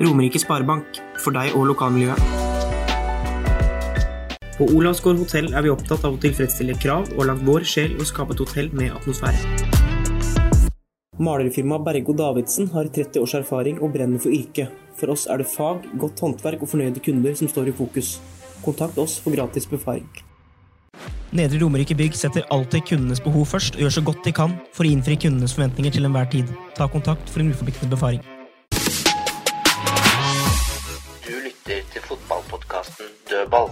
Romerike Sparebank, for deg og lokalmiljøet. På Olavsgård hotell er vi opptatt av å tilfredsstille krav og lagt vår sjel i å skape et hotell med atmosfære. Malerfirmaet Bergo Davidsen har 30 års erfaring og brenner for yrket. For oss er det fag, godt håndverk og fornøyde kunder som står i fokus. Kontakt oss for gratis befaring. Nedre Romerike Bygg setter alltid kundenes behov først og gjør så godt de kan for å innfri kundenes forventninger til enhver tid. Ta kontakt for en uforpliktende befaring. Du lytter til fotballpodkasten Dødball.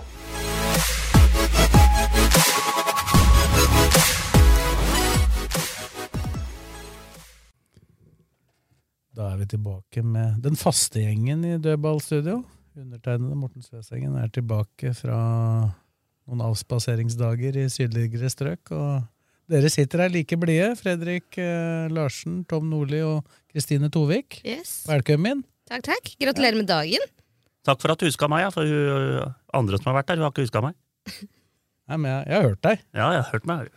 Da er vi tilbake med den faste gjengen i Dødballstudio. Undertegnede Morten Svesengen er tilbake fra noen avspaseringsdager i sydligere strøk. Og dere sitter her like blide. Fredrik eh, Larsen, Tom Nordli og Kristine Tovik. Yes. Velkommen. Takk, takk. Gratulerer med dagen. Takk for at du huska meg, ja, for hun ø, andre som har vært der, hun har ikke huska meg. Nei, men jeg, jeg har hørt deg. Ja, jeg har hørt meg.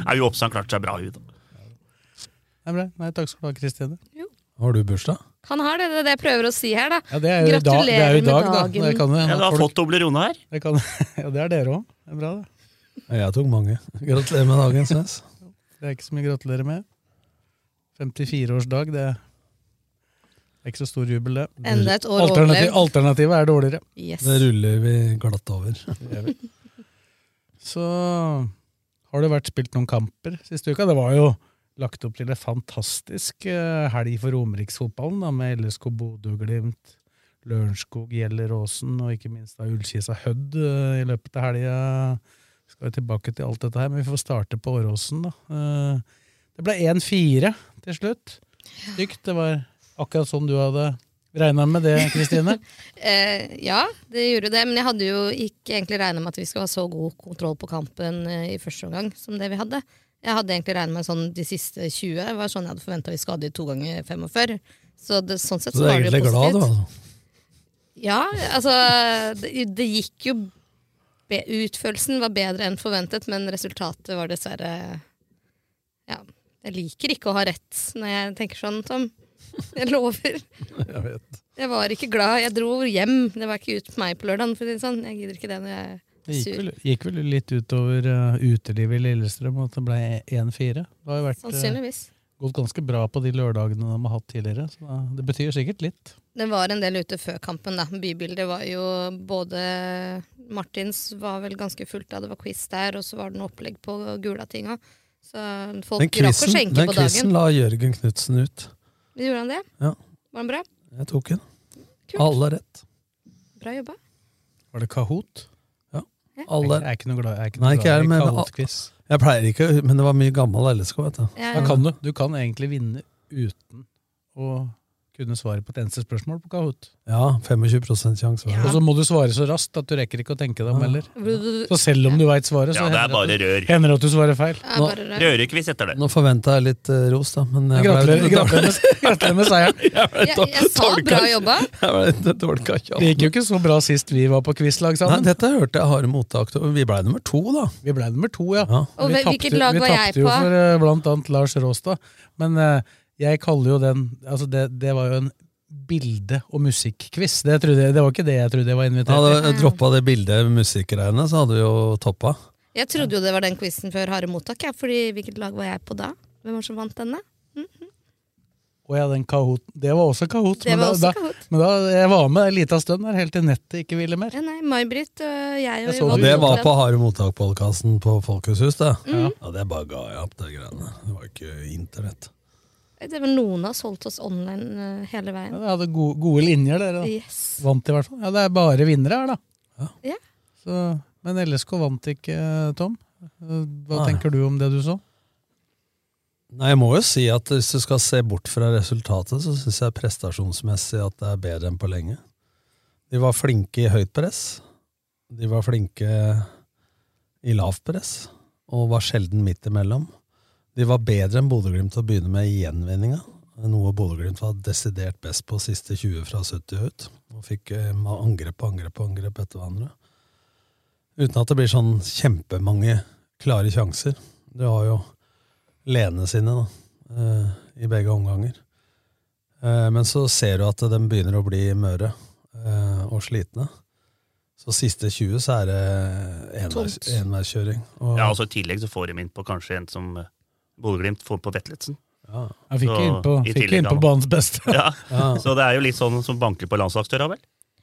Nei, hun Oppsand klarte seg bra, hun. da. Nei, bra. Nei, takk skal du ha, Kristine. Har du bursdag? Han har det, det er det jeg prøver å si her, da. Ja, det er jo i dag, det er jo i dag da. Gratulerer med Det kan jo Ja, hende du at har folk- fått Toblerone her. det kan- Ja, det er dere òg. Det er bra, det. Jeg tok mange. Gratulerer med dagen, Snes. Det er ikke så mye å gratulere med. 54-årsdag, det det er ikke så stor jubel, det. Enda et år Alternativ, overlevd. alternativet er dårligere. Yes. Det ruller vi glatt over. Så har det vært spilt noen kamper siste uka. Det var jo lagt opp til en fantastisk eh, helg for Romeriksfotballen, da, med LSK Bodø-Glimt, Lørenskog, Gjelleråsen og ikke minst da Ullkisa Hødd eh, i løpet av helga. Skal jo tilbake til alt dette her, men vi får starte på Åråsen, da. Eh, Det ble 1-4 til slutt. Stygt. Det var akkurat som du hadde regna med det, Kristine. Eh, ja, det gjorde det, men jeg hadde jo ikke egentlig regna med at vi skulle ha så god kontroll på kampen eh, i første omgang som det vi hadde. Jeg hadde egentlig regna med sånn de siste 20. Det var sånn jeg hadde forventa vi skulle ha de to ganger 45. Så det, sånn sett Så så du er var det egentlig glad, jo du, positivt. altså. Ja, altså Det, det gikk jo be, Utførelsen var bedre enn forventet, men resultatet var dessverre Ja. Jeg liker ikke å ha rett når jeg tenker sånn, Tom. Jeg lover. Jeg vet. Jeg var ikke glad. Jeg dro hjem. Det var ikke ut på meg på lørdagen. For å si det sånn. Jeg gidder ikke det når jeg Det er gikk sur. vel, gikk vel litt utover uh, utelivet i Lillestrøm at det ble 1-4. Det har jo vært, eh, Sannsynligvis. gått ganske bra på de lørdagene de har hatt tidligere, så da, det betyr sikkert litt. Det var en del ute før kampen, da. Bybildet var jo både Martins var vel ganske fullt da, det var quiz der, og så var det noe opplegg på Gulatinga. Så Den folk rakk å quizen skjenke den på quizen dagen. la Jørgen Knutsen ut. Gjorde han det? Ja. Var han bra? Jeg tok den. Kult. Alle har rett. Bra jobba. Var det Kahoot? Jeg Alle er ikke noe glad, jeg er ikke Nei, noe ikke jeg, glad i men- Kahoot-quiz. Jeg pleier ikke, men det var mye gammel LSK, vet du. Ja, Da kan du. Du kan egentlig vinne uten å kunne svare på et eneste spørsmål på Kahoot. Ja, 25 sjanse. var det. Og så må du svare så raskt at du rekker ikke å tenke deg om heller. Vrr. Så selv om du veit svaret, så Ja, det er hender bare det rør. at du- hender det at du svarer feil. Ja, bare det. Rørekviss etter det. Nå forventa jeg litt eh, ros, da, men jeg Gratulerer litt dårlig. gratulerer med, gratulerer med seieren. Jeg, jeg sa bra jobba. Jeg ble litt dårlig kakja. Det gikk jo ikke så bra sist vi var på Nei, quizlag sammen. dette hørte jeg harde mottak til. Vi blei nummer to, da. Vi ble nummer to, ja. Ja. Og vi hvil- tapte- hvilket lag var Vi jeg tapte jo på? for eh, blant annet Lars Råstad. Men eh, jeg kaller jo den altså det, det var jo en bilde- og musikkquiz. Det, trodde jeg- det var ikke det jeg trodde jeg var invitert til. Hadde jeg droppa det bildet musikkgreiene, så hadde vi jo toppa. Jeg trodde jo det var den quizen før Harde mottak, ja, fordi hvilket lag var jeg på da? Hvem var det som vant denne? Å ja, den Kahoot. Det var også Kahoot. Det men var da, også da, Kahoot. men da, jeg var med en lita stund der, helt til nettet ikke ville mer. Ja, nei, May-Britt og jeg og Jeg så Og Du det Yvonne var Rotevatn. på Harde mottak-podkasten på Folkehushus, det. Mm. Ja, det bare ga jeg opp, det greiene. Det var ikke internett. Det var noen av oss holdt oss online eh, hele Ja, veien. dere hadde gode, gode linjer, dere. da. Yes. Vant i hvert fall. Ja, det er bare vinnere her, da. Ja. Så, men LSK vant ikke, Tom. Eh, Hva Nei. tenker du om det du så? Nei, Jeg må jo si at hvis du skal se bort fra resultatet, så syns jeg prestasjonsmessig at det er bedre enn på lenge. De var flinke i høyt press. De var flinke i lavt press, og var sjelden midt imellom. De var bedre enn Bodø-Glimt til å begynne med i gjenvinninga, noe Bodø-Glimt var desidert best på siste 20 fra 70 ut, og fikk eh, angrep på angrep på angrep etter hverandre. Uten at det blir sånn kjempemange klare sjanser. Du har jo lene sine da, eh, i begge omganger. Eh, Men så ser du at de begynner å bli møre eh, og slitne. Så siste 20 så er det enveis- Tomt. enveiskjøring. Og- Ja, altså I tillegg så får de inn på kanskje en som eh, Bodø-Glimt får på Vetlesen. Ja. Ja, fikk inn på- fikk inn på banens beste. ja. Ja. Så det er jo litt sånn som banker på landslagsdøra, vel?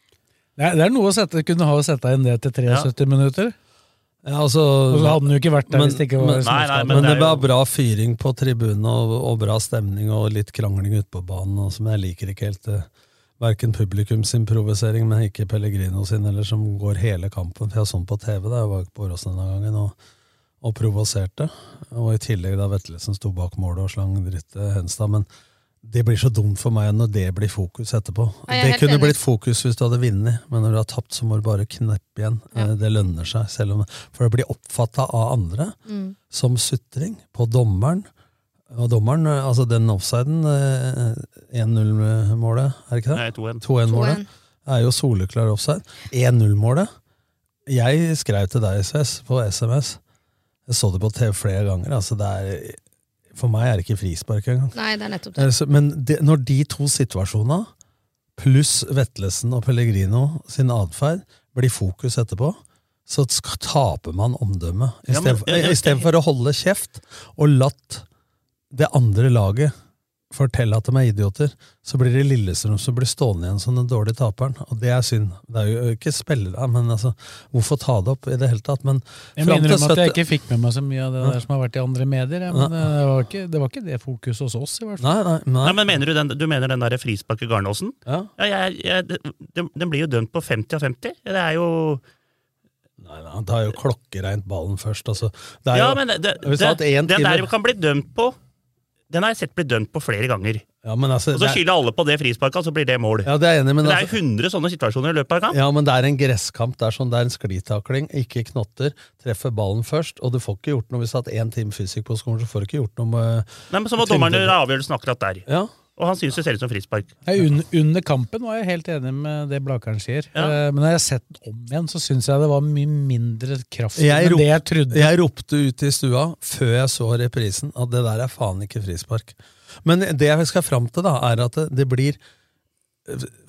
Det er, det er noe å sette, kunne ha å sette inn det til 73 minutter. Ja, altså, Og så hadde den jo ikke vært der hvis det ikke var men, småskade. men, det, var bra fyring på tribunen og, og bra stemning og litt krangling ute på banen, og som jeg liker ikke helt. eh, Verken publikumsimprovisering, men ikke Pellegrino sin, eller som går hele kampen. For jeg så den på TV, da jeg var på Åråsen denne gangen, og, og provoserte. Og i tillegg da Vettelsen sto bak målet og slang dritt til Henstad. Men det blir så dumt for meg når det blir fokus etterpå. Ja, jeg er Det helt kunne enig. blitt fokus hvis du hadde vunnet, men når du har tapt, så må du bare kneppe igjen. Eh, Det lønner seg, selv om, for det blir oppfatta av andre Mm. som sutring på dommeren. Og dommeren, eh, altså den offsiden, eh, 1-0-målet, er det ikke Nei, det? 2-1. 2-1-målet er jo soleklar offside. 1-0-målet Jeg skrev til deg, Sves, på SMS. Jeg så det på TV flere ganger. altså det er, For meg er det ikke frispark engang. Nei, det er nettopp det. Eh, så- Men det, når de to situasjonene, pluss Vettelsen og Pellegrino sin atferd, blir fokus etterpå, så sk- taper man omdømmet. Ja, men- ja, ja, Istedenfor å holde kjeft og latt det andre laget fortelle at de er idioter, så blir det Lillestrøm som blir stående igjen som den dårlige taperen. Og det er synd. Det er jo ikke spillere, men altså, hvorfor ta det opp i det hele tatt? Men Jeg fram til mener om at 70 jeg ikke fikk med meg så mye av det der som har vært i andre medier. jeg, Men eh, det var ikke det, var ikke det fokuset hos oss, i hvert fall. Nei, men mener Du den, du mener den der frisparket Garnåsen? Ja. jeg, jeg, den, den blir jo dømt på 50 av 50. Det er jo Nei, nei, det er jo klokkereint ballen først. Altså. Det er Ja, jo, men det, det, vi sa at en den der time- kan bli dømt på Den har jeg sett bli dømt på flere ganger. Ja, men altså, og så det er- skylder alle på det frisparket, og så blir det mål. Ja, det er jeg enig i, men det er altså- 100 sånne situasjoner i løpet av en kamp. Ja, men det er en gresskamp. Det er sånn, det er en sklitakling, ikke knotter. Treffer ballen først, og du får ikke gjort noe hvis du har hatt én time fysikk på skolen. så får du ikke gjort noe med... Nei, men Så må dommeren gjøre avgjørelsen akkurat der. Ja. Og han syns det ser ut som frispark. Nei, un, under kampen var jeg helt enig med det Blakeren sier. Eh, Men når jeg har sett den om igjen, så syns jeg det var mye mindre kraft Jeg, enn rop, det jeg trodde. jeg ropte ut i stua før jeg så reprisen at det der er faen ikke frispark. Men det jeg skal fram til, da, er at det, det blir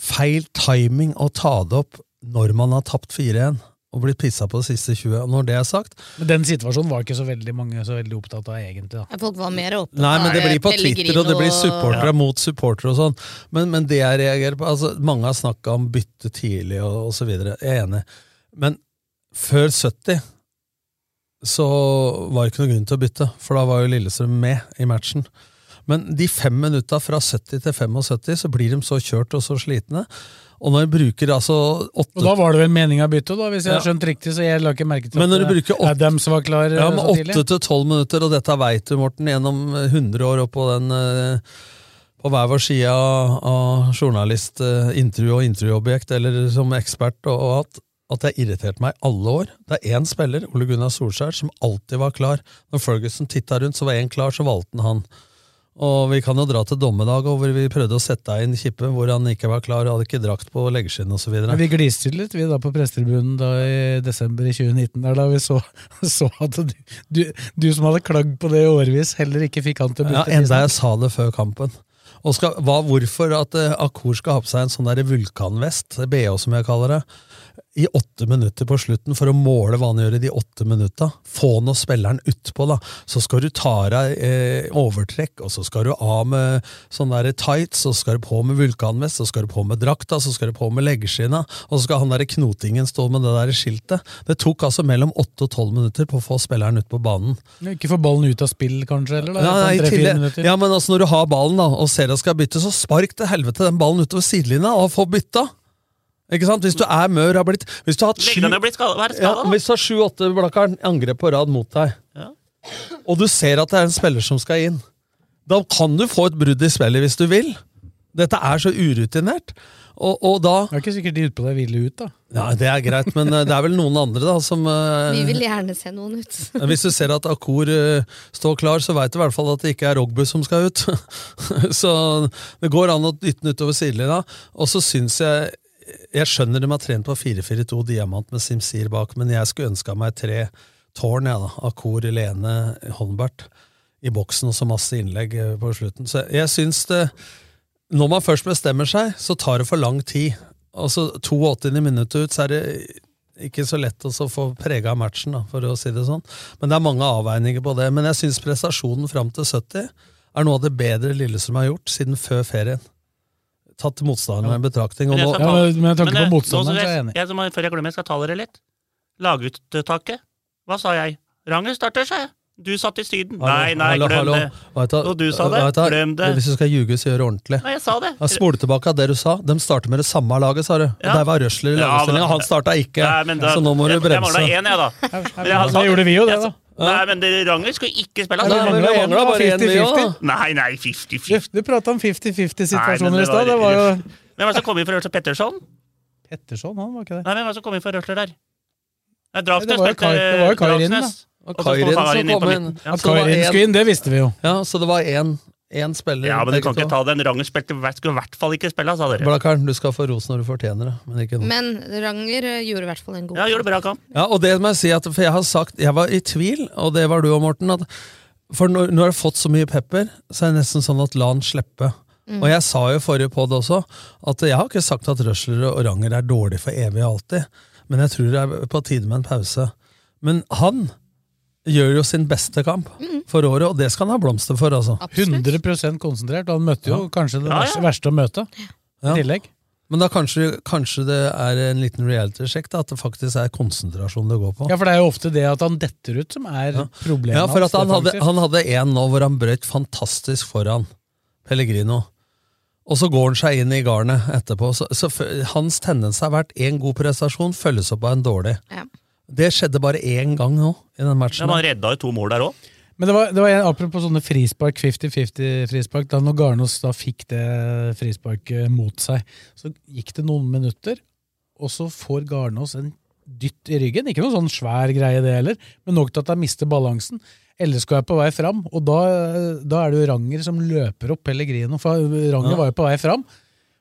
feil timing å ta det opp når man har tapt 4-1 og blitt pissa på de siste 20. Og når det er sagt, Men den situasjonen var ikke så veldig mange så veldig opptatt av, egentlig. da. Folk var mer opptatt Eh, Nei, men det av blir på Pellegrino Twitter, og det blir supportere og- mot supportere og sånn. Men, men det jeg reagerer på altså, Mange har snakka om bytte tidlig og, og så videre. Jeg er enig. Men før 70 så var det ikke noen grunn til å bytte, for da var jo Lillestrøm med i matchen. Men de fem minutta fra 70 til 75, så blir de så kjørt og så slitne. Og når de bruker altså åtte Og da var det vel meninga å bytte, da, hvis jeg har Ja. skjønt riktig. så jeg la ikke merke til Men når du at eh, bruker åtte- Adams var klar eh, Ja, med så tidlig. åtte til tolv minutter, og dette veit du, Morten, gjennom 100 år oppå den eh, På hver vår side av, av journalist, eh, intervju og intervjuobjekt, eller som ekspert og, og alt. At det har irritert meg alle år. Det er én spiller, Ole Gunnar Solskjær, som alltid var klar. Når Ferguson titta rundt, så var én klar, så valgte han han. Og vi kan jo dra til dommedag, og hvor vi prøvde å sette inn Kippe, hvor han ikke var klar, og hadde ikke drakt på leggskinn osv. Men Vi gliste litt vi da på pressetribunen da i desember i 2019, der da vi så, så at du, du, du som hadde klagd på det i årevis, heller ikke fikk han til å Ja, bytte. enda jeg sa det før kampen. Og skal, hva, hvorfor at eh, Akor skal ha på seg en sånn der vulkanvest, BH som jeg kaller det, i åtte minutter på slutten for å måle hva han gjør i de åtte minutta. Få nå spilleren utpå, da. Så skal du ta av deg eh, overtrekk, og så skal du av med sånne der tights, så skal du på med vulkanvest, så skal du på med drakta, så skal du på med leggskinna, og så skal han der knotingen stå med det der skiltet. Det tok altså mellom åtte og tolv minutter på å få spilleren ut på banen. Ikke få ballen ut av spill, kanskje? eller da, Ja, på nei, i tre-fire tillegg- sånn minutter. ja, men altså når du har ballen da, og ser at skal bytte, så spark til helvete den ballen utover sidelinja og få bytta. Ikke sant? Hvis du er mør, har blitt Hvis du har hatt sju Legg deg ned og bli skadet. Hva er det ja, skadet, da? hvis du har sju-åtte blakkaren angrep på rad mot deg, og du ser at det er en spiller som skal inn, Da kan du få et brudd i spillet hvis du vil. Dette er så urutinert. Og, og da Det er ikke sikkert de utpå deg ville ut, da. Ja, Det er greit, men eh, det er vel noen andre da som eh, Vi vil gjerne se noen ut. Hvis du ser at Akor eh, står klar, så veit du i hvert fall at det ikke er Rogbu som skal ut. så det går an å dytte den utover sidelinja. Og så syns jeg Jeg skjønner de har trent på 4-4-2 diamant med Simsir bak, men jeg skulle ønska meg tre tårn, jeg, da. Akor, Lene, Holmbert i boksen, og så masse innlegg eh, på slutten. Så jeg syns det Når man først bestemmer seg, så tar det for lang tid. Altså 82 minutter ut, så er det ikke så lett å så få prega matchen, da, for å si det sånn. Men det er mange avveininger på det. Men jeg syns prestasjonen fram til 70 er noe av det bedre Lillestrøm har gjort siden før ferien. Tatt motstanderen i betraktning. Og Men nå, jeg skal ta- men, eh, nå så er jeg jeg Jeg, som- før jeg glemmer, skal jeg ta dere litt. Laguttaket. Hva sa jeg? Ranger starter, sa jeg. Du satt i Syden. Nei, nei, Hallo, glem hallo. det. Vet Og du sa det. vet du, Glem det. Hvis du skal ljuge, så gjør det ordentlig. Nei, jeg sa det. Ja, Spole tilbake av det du sa. De starter med det samme laget, sa du. Og Ja. Der var Røsler i Ja, lagoppstillinga. men- Han starta ikke, Nei, men da- så nå må du jeg- Jeg bremse. mangla én, jeg, da. Men jeg Da sa- gjorde vi jo det, da. Nei, men det- Ranger skulle ikke spille. Altså, Ja, vi manglet en, da. 50-50. Nei, nei, 50-50. Du prata om 50-50-situasjoner Nei, men i det stad. var- Det var jo Hvem var det som kom inn for Ørsa Petterson? Petterson, han var ikke det. Nei, hvem var det som kom inn for Røsler der? Nei, Nei, Dragsnes det var jo spilte Kai- det var jo Kairin, da. Dragsnes. Og Og så kom Kairin som Kairin inn på kom midten. inn. Ja, At så det var Kairin en- skulle inn, det visste vi jo. Ja, så det var én én spiller. Ja, men du kan begge ikke ta to. den. Ranger spilte, skulle i hvert fall ikke spille, sa dere. Blakkaren, du skal få ros når du fortjener det, men ikke nå. Men Ranger eh, gjorde i hvert fall en god Ja, gjorde bra kamp. Ja, og det må jeg si at, for jeg har sagt, jeg var i tvil, og det var du og Morten, at for når, når jeg har fått så mye pepper, så er det nesten sånn at la han slippe. Mm. Og jeg sa jo i forrige podd også, at jeg har ikke sagt at Røsler og Ranger er dårlig for evig og alltid, men jeg tror det er på tide med en pause. Men han gjør jo sin beste kamp for året, og det skal han ha blomster for, altså. 100 konsentrert, og han møtte jo Ja. kanskje det Ja, ja. verste, verste å møte. Ja. I tillegg. Men da kanskje, kanskje det er en liten reality-sjekk, da, at det faktisk er konsentrasjon det går på. Ja, for det er jo ofte det at han detter ut som er problemet Ja, for at hans, han hadde, defensivt. han hadde en nå hvor han brøt fantastisk foran Pellegrino. Og så går han seg inn i garnet etterpå. Så, så f- hans tendens har vært én god prestasjon følges opp av en dårlig. Ja. Det skjedde bare én gang nå i den Ja, matchen. man redda jo to mål der òg. Men det var, det var en, apropos sånne frispark, 50-50-frispark. Da når Garnås da fikk det frisparket mot seg, så gikk det noen minutter, og så får Garnås en dytt i ryggen. Ikke noe sånn svær greie, det heller, men nok til at han mister balansen. LSK er på vei fram, og da, da er det jo Ranger som løper opp Pellegrino. For Ranger Ja. var jo på vei fram,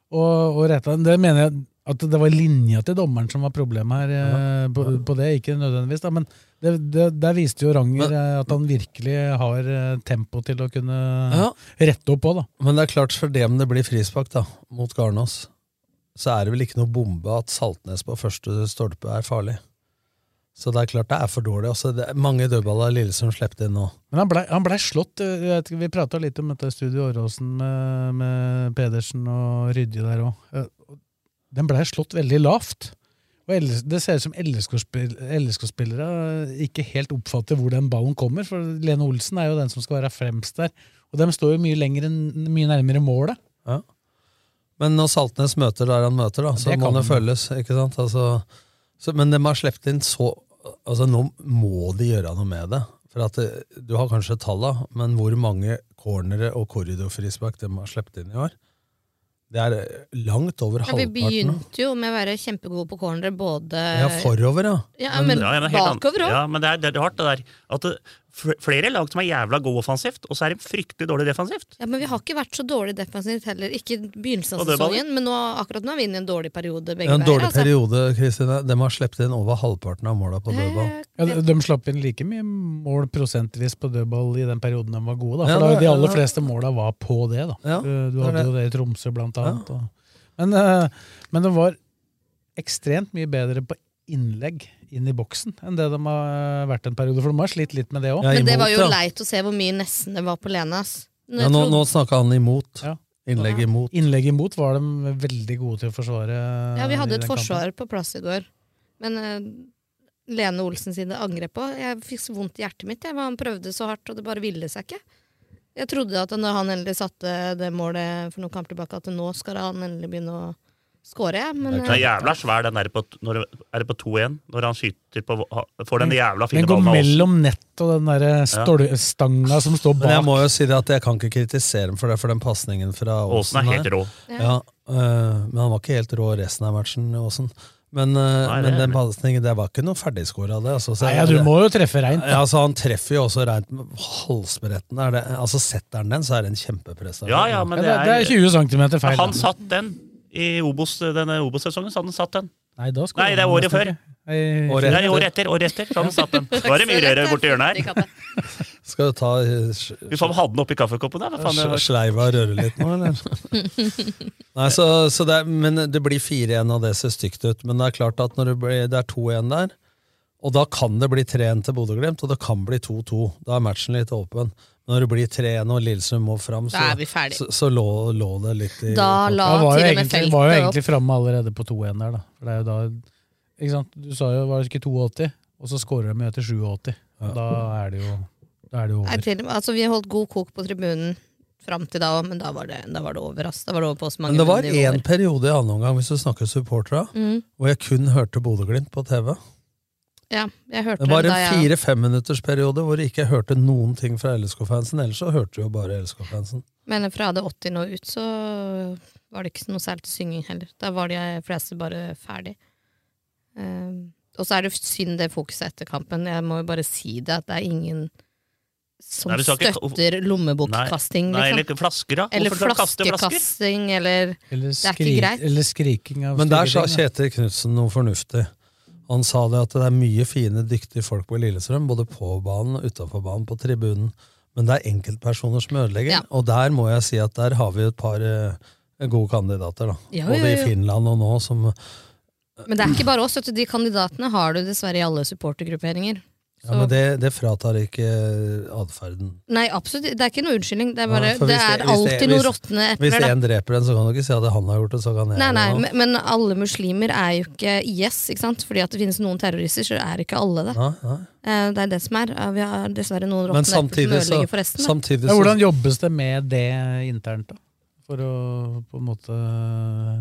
og, og retta Det mener jeg at det var linja til dommeren som var problemet her eh, på, på det. Ikke nødvendigvis, da, men det, det, der viste jo Ranger eh, at han virkelig har eh, tempo til å kunne Ja. rette opp på, da. Men det er klart, for det om det blir frispark da, mot Garnås, så er det vel ikke noe bombe at Saltnes på første stolpe er farlig. Så det er klart det er for dårlig. Altså, det er mange dødballer Lillesund slapp inn nå. Men han blei ble slått. eh, jeg vet ikke, Vi prata litt om dette studio Åråsen med, med Pedersen og Rydje der òg. Den blei slått veldig lavt. Og LS det ser ut som LSK-spillere LSK ikke helt oppfatter hvor den ballen kommer. For Lene Olsen er jo den som skal være fremst der. Og dem står jo mye, lenger enn- mye nærmere målet. Ja. Men når Saltnes møter der han møter, da, så det må kan det han. følges. ikke sant? Altså, så, men de har sluppet inn så altså Nå må de gjøre noe med det. For at det, Du har kanskje talla, men hvor mange cornere og korridorfrispark de har sluppet inn i år? Det er eh, langt over Ja, vi halvparten. da. begynte jo med å være kjempegode på cornere, både Ja, forover, ja. eh, Ja, men ja, jeg er helt an- bakover òg. Ja, men det er, det er hardt, det der. At det, fl- flere lag som er jævla gode offensivt, og så er de fryktelig dårlige defensivt. Ja, men vi har ikke vært så dårlig defensivt heller. Ikke i begynnelsen Og av det var- sesongen, men nå, akkurat nå er vi inne i en dårlig periode Det begge er En veier. dårlig altså. periode, Kristine. De har sluppet inn over halvparten av måla på dødball. Eh, Ja, de, de slapp inn like mye mål prosentvis på dødball i den perioden de var gode. Da. Ja, For da, det- de aller ja. fleste måla var på det. Da. Ja, Eh, du det er hadde det. jo det i Tromsø, blant annet. Og, men, eh, men de var ekstremt mye bedre på innlegg inn i boksen enn det de har eh, vært en periode. For de har slitt litt med det òg. Ja, Men det imot, var jo ja. leit å se hvor mye nesten det var på Lene. ass. Når Ja, jeg nå trodde- nå snakka han imot. Ja. Innlegg imot. Innlegg imot var de veldig gode til å forsvare. eh, ja, vi i hadde et den kampen. forsvar på plass i går, men eh, Lene Olsen sine angrep på Jeg fikk så vondt i hjertet mitt. Jeg, han prøvde så hardt, og det bare ville seg ikke. Jeg trodde at når han endelig satte det målet for noen kamper tilbake, at nå skal han endelig begynne å score, jeg. Men, eh, Den er jævla svær, den er på, når, er det på 2-1, når han skyter på Får Mm. den jævla fine Den går ballen av oss. mellom nett og den der eh, stol- stanga som står Men jeg bak. må jo si det at jeg kan ikke kritisere ham for det, for den pasningen fra Aasen Aasen er helt her. rå. Ja, øh, men han var ikke helt rå resten av matchen, Aasen. Men, øh, Nei, det men er den pasningen, det var ikke noe ferdigskår av det. Altså, så Nei, ja, jeg- du må jo treffe reint. Ja, altså, han treffer jo også reint med halsbretten. Er det, altså, setter han den, så er det en kjempeprestasjon. Ja, ja, men det er, centimeter feil, Han da. satt den i Obos, denne Obos-sesongen. så hadde han satt den. Nei, da skulle Nei, det er han året nesten før. ikke. Året etter. Nei, året etter. Året etter. Så hadde han satt den. Da er det mye rødere borti hjørnet her. Skal du ta eh, Fy faen, hadde den oppi kaffekoppen der? Hva faen? det var- sleiva og røre litt nå, eller? Nei, så, så det er, men det blir 4-1, og det ser stygt ut. Men det er klart at når det, blir, det er 2-1 der, og da kan det bli 3-1 til Bodø-Glimt, og det kan bli 2-2. Da er matchen litt åpen. Men når det blir 3-1 og Lillestrøm må fram, så, Da er vi ferdig. så, så lå, lå det litt i Da la Han var jo til og med egentlig, var jo feltet egentlig framme allerede på 2-1 der, da. For det er jo da ikke sant? Du sa jo var det ikke 82, og så scorer de jo etter 87. Og Da er det jo, da er det jo Nei, over. til, og med- altså, vi holdt god kok på tribunen fram til da òg, men da var det, da var det over. ass. Da var det over på så mange Men det var nivåer. én periode i annen omgang, hvis du snakker supportera, Mm. hvor jeg kun hørte Bodø-Glimt på TV. Ja, jeg hørte Det var den da en jeg- fire-femminuttersperiode hvor jeg ikke hørte noen ting fra LSK-fansen. Ellers så hørte du jo bare LSK-fansen. Men fra det 80 nå ut, så var det ikke noe særlig til synging heller. Da var de fleste bare ferdig. Ehm, og så er det synd det fokuset etter kampen. Jeg må jo bare si det, at det er ingen som Nei, vi skal ikke- støtter lommebokkasting. Nei, liksom. eller flagsker, da. Eller Hvorfor skal de kaste flasker? flaskekasting, eller Eller, Det er ikke skri- greit. eller skriking av Men der sa stygge ting, da. Kjetil Knutsen noe fornuftig. Han sa det at det er mye fine, dyktige folk på Lillestrøm, både på banen og utafor banen, på tribunen. Men det er enkeltpersoner som ødelegger. Ja. Og der må jeg si at der har vi et par eh, gode kandidater, da. Ja, både ja, ja. i Finland og nå, som Men det er ikke bare oss. vet du. De kandidatene har du dessverre i alle supportergrupperinger. ja, Men det, det fratar ikke eh, atferden. Nei, absolutt. Det er ikke noe unnskyldning. Det er, bare, Ja, for det hvis er hvis alltid hvis- noen råtne epler. Hvis da. én dreper en, så kan du ikke si at han har gjort det, så kan jeg Nei, nei, gjøre det. men, men alle muslimer er jo ikke IS, ikke sant? Fordi at det finnes noen terrorister, så er ikke alle det. Nei, nei. Eh, Det er det som er. Eh, Vi har dessverre noen Men råtne epler som samtidig så, ødelegger for resten. da. samtidig Ja, så hvordan jobbes det med det internt, da? For å på en måte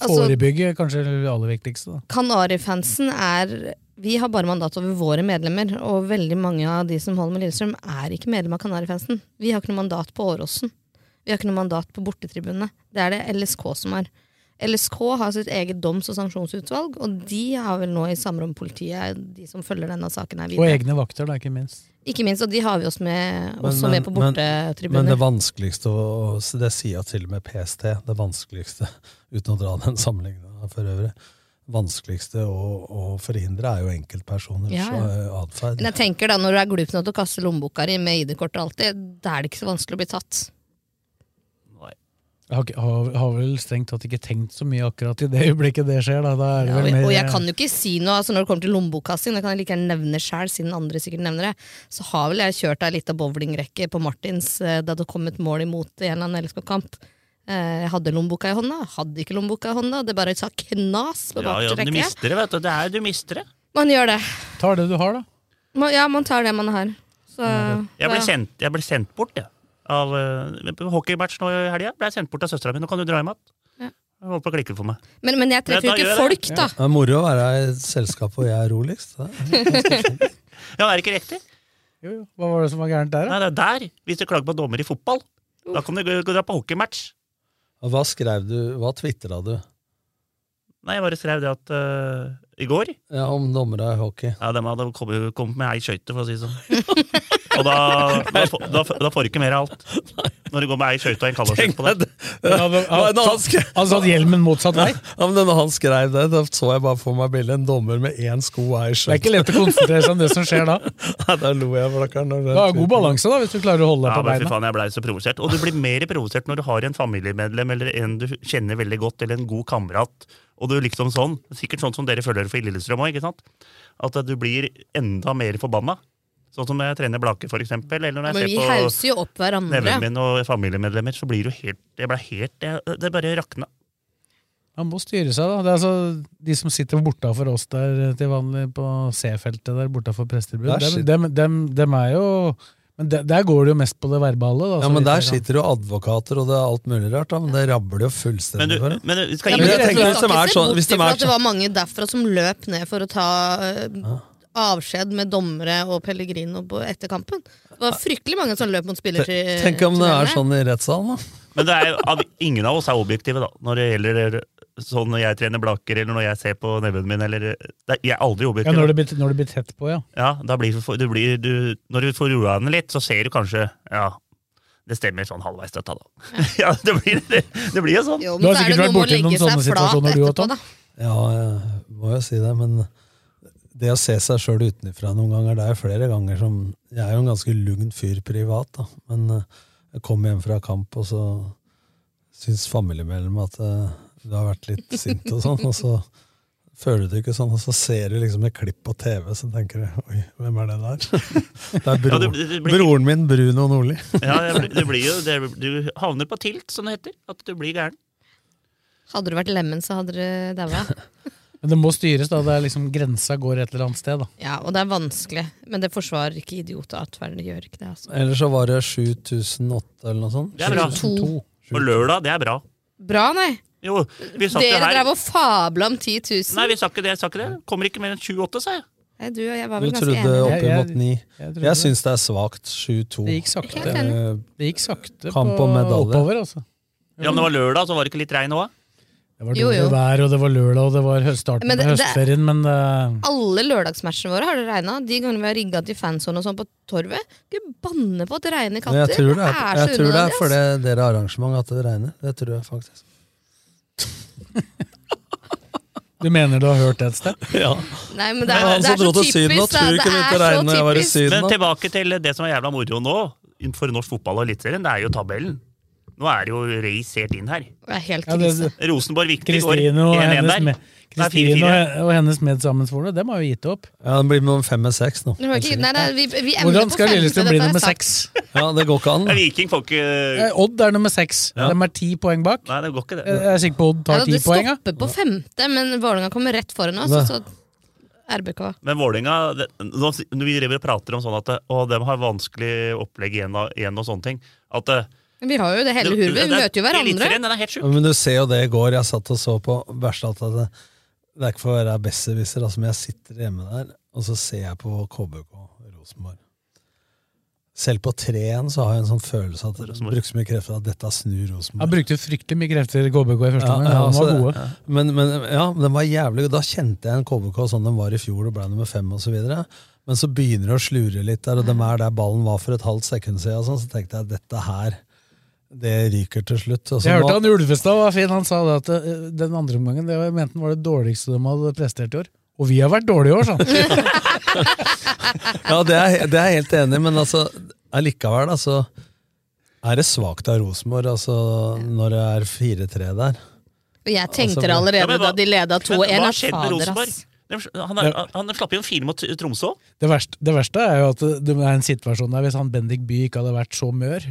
Altså- forebygge, kanskje det aller viktigste. da. Kanarifansen er Vi har bare mandat over våre medlemmer, og veldig mange av de som holder med Lillestrøm, er ikke medlem av Kanarifansen. Vi har ikke noe mandat på Åråsen. Vi har ikke noe mandat på bortetribunene. Det er det LSK som er. LSK har sitt eget doms- og sanksjonsutvalg, og de har vel nå i samråd med politiet, de som følger denne saken her Og videre. egne vakter, da, ikke minst. Ikke minst, og de har vi oss med, Men- også men- med på Men, men bortetribuner. det vanskeligste, å- å- det sier jeg til og med PST, det vanskeligste, uten å dra den sammenligninga for øvrig, vanskeligste å, å forhindre er jo enkeltpersoners Ja, ja. eh, atferd. Men jeg tenker da, når du er glup nok til å kaste lommeboka di med ID-kort og alt det, da er det ikke så vanskelig å bli tatt. Jeg har, ikke, har, har vel strengt tatt ikke tenkt så mye akkurat i det øyeblikket det skjer. Da. Da er det Ja, vel og, mer, og jeg kan jo ikke si noe altså når det kommer til lommebokkasting, det kan jeg like gjerne nevne sjøl, siden andre sikkert nevner det. Så har vel jeg kjørt ei lita bowlingrekke på Martins eh, da det kom et mål imot i en eller annen LSK-kamp. Eh, Jeg hadde lommeboka i hånda, hadde ikke lommeboka i hånda. Det bare sa knas på Ja, ja, du bakrekke. mister det, vet du. Det er du mister det. man gjør det. Tar det du har, da. Man, ja, man tar det man har. Så, Jeg ble ja. sendt, jeg ble sendt bort, jeg. Av eh, på hockeymatch nå i helga ble jeg sendt bort av søstera mi. Nå kan du dra hjem igjen. Ja. Hun holdt på å klikke for meg. Men, men jeg treffer Ja, da jo ikke gjør jeg folk, det. da. Det er moro å være i et selskap hvor jeg er roligst. det er- Ja, er det ikke riktig? Jo, jo. Hva var det som var gærent der, da? Nei, det er der. Hvis du klager på dommer i fotball, da kan du gå, gå dra på hockeymatch. Og Hva skrev du, hva tvitra du Nei, jeg bare skrev det at eh, I går ja, om dommere i hockey? Ja, de hadde kommet, kommet med ei skøyte, for å si det sånn. Og da, da, får- da, får- da får du ikke mer av alt. Når du går med ei skøyte og en kalverskøyte på deg. Ja, det- Hva er det han skrev? han satt hjelmen motsatt vei. Ja, men Når han skrev det, da så jeg bare for meg bildet. En dommer med én sko og ei Det er skjørt. ikke lett å konsentrere seg om det som skjer da. Nei, Da lo jeg, blakkeren. når Du den har god tweeten- balanse da, hvis du klarer å holde deg Ja, på men fy beina. faen, jeg ble så provosert. Og du blir mer provosert når du har en familiemedlem eller en du kjenner veldig godt, eller en god kamerat, og du liksom sånn, sikkert sånn som dere føler det for i Lillestrøm òg, ikke sant? At eh, du blir enda mer forbanna. Sånn som når jeg trener Blake, for eksempel, eller når Men jeg vi hauser ser jo opp på nevene hverandre. mine og familiemedlemmer, så blir du helt Jeg ble helt jeg, Det bare rakna. Han må styre seg da. Det er altså de som sitter bortafor oss eh, der til vanlig på C-feltet der bortafor presterbud, Der dem, dem, dem, dem er jo Men de- der går det jo mest på det verbale. Da, Ja, så men vidt Der jeg kan- sitter jo advokater og det er alt mulig rart, da, men det rabler Men jo du- fullstendig for dem. men du skal- Ja, Men men jeg tenker hvis vi skal de ikke er se sånn bort hvis de ifra er at det sånn- var mange derfra som løp ned for å ta eh, Ah. avskjed med dommere og Pellegrino på- etter kampen. Det var fryktelig mange som løp mot spiller til Tenk om det til er dommerne. sånn i rettssalen, da. Men det er, av- ingen av oss er objektive, da. Når det gjelder sånn når jeg trener blaker, eller når jeg ser på nevøen min, eller det, er- Jeg er aldri objektiv. ja, når, det blir, når det blir tett på, ja. Ja, da blir du, du blir, du, når du får roa henne litt, så ser du kanskje Ja, det stemmer sånn halvveis, dette, da. Ja, det, blir, det, det blir jo sånn. Jo, men så er det noe med å legge seg flat etterpå, da. Ja, jeg må jo si det, men det å se seg sjøl utenfra noen ganger, det er flere ganger som Jeg er jo en ganske lugn fyr privat, da, men eh, jeg kom hjem fra kamp, og så syns familiemedlemmet at eh, du har vært litt sint og sånn, og så føler du det ikke sånn, og så ser du liksom et klipp på TV, så tenker du oi, hvem er det der? Det er Ja, bror, det- det blir- broren min, Bruno Nordli. Ja, det blir- det blir jo, det, Du havner på tilt, som det heter. At du blir gæren. Hadde du vært lemen, så hadde du daua. Men det må styres, da. Det er liksom Grensa går et eller annet sted, da. Ja, og det er vanskelig. Men det forsvarer ikke idiotatferden. Det gjør ikke det, altså. Eller så var det 7008 eller noe sånt. Det er bra. 2002. På lørdag, det er bra. Bra, nei! Jo, vi sa ikke Dere det her. drev og fabla om 10 000. Nei, vi sa ikke det. Jeg sa ikke det. Kommer ikke mer enn 28, sa jeg. Nei, du og jeg var Du vel ganske trodde enige. oppimot ni. jeg Jeg, trodde det. syns det er svakt. 7-2. Det gikk sakte. Eh, Det gikk sakte Kamp på, om medalje. oppover, altså. Ja, men det var lørdag, så var det ikke litt regn òg? Det var Jo, dårlig jo. vær, og det var lørdag, og det var høst- starten Men det- på høstferien, men eh, Alle lørdagsmatchene våre har det regna. De gangene vi har rigga til fansone og sånn på torvet. Ikke banne på at det regner Men katter! jeg tror det er, så jeg tror det er unødvendig, fordi ass. dere har arrangement at det regner. Det tror jeg faktisk. du mener du har hørt det et sted? Ja. Nei, men det Det er, var han det som er så dro til typisk, Syden og da. tror Det ikke det er så regner når jeg var i typisk. Syden, Men da. tilbake til det som er jævla moro nå, for norsk fotball og Eliteserien, det er jo tabellen. Nå er det jo race helt inn her. Det er helt Ja, det- krise. Rosenborg-Viktig går Kristine og 1-1 hennes, der. med, Kristine og, og hennes medsammensvorne, dem har jo gitt opp. Ja, Den blir med om fem med seks nå. Det var ikke- Nei, det er, vi, vi ender Hvordan på skal femte, Lillestrøm dette bli har jeg nummer sagt. seks? Ja, Det går ikke an. Ja, Viking får ikke Eh, Odd er nummer seks. De er ti poeng bak. Nei, det går ikke, Jeg det. jeg er sikker på Odd Ja, tar ti det poeng. ja. stopper på femte, men Vålerenga kommer rett foran oss. Og så RBK. Men Vålerenga det- nå s- Når vi driver og prater om sånn at å, de har vanskelig opplegg igjen, og- igjen og sånne ting at, eh, Vi har jo det hele det- hurvet. det- Vi møter jo hverandre. Eliteserien, den er helt sjuk. Ja, Men du ser jo det i går. Jeg satt og så på verste at det, det er ikke for å være besserwisser, altså, men jeg sitter hjemme der, og så ser jeg på KBK Rosenborg. Selv på 3-1 så har jeg en sånn følelse at det brukes mye krefter at dette snur Rosenborg. Han brukte fryktelig mye krefter i KBK i første Ja, omgang. ja, Han var altså, gode. Men, men ja, den var jævlig god. Da kjente jeg en KBK sånn den var i fjor og ble nummer fem osv. Men så begynner det å slure litt der, og dem er der ballen var for et halvt sekund siden. og Sånn, så tenkte jeg dette her, det ryker til slutt. Og så Jeg hørte nå- han Ulvestad var fin. Han sa det at eh, den andre omgangen det var- mente han var det dårligste de hadde prestert i år. Og vi har vært dårlige i år, sånn. ja, det er, he- det er jeg helt enig i, men altså, allikevel, altså er det svakt av Rosenborg altså, når det er 4-3 der? Og jeg Altså, tenkte det Ja, allerede men da hva- de leda Men 2-1. hva Ja, skjedde med Fader, Rosenborg? ass. De- Han, er, han slapp inn fire mot Tromsø. Det verste, det verste er jo at det er en situasjon der hvis han Bendik Bye ikke hadde vært så mør,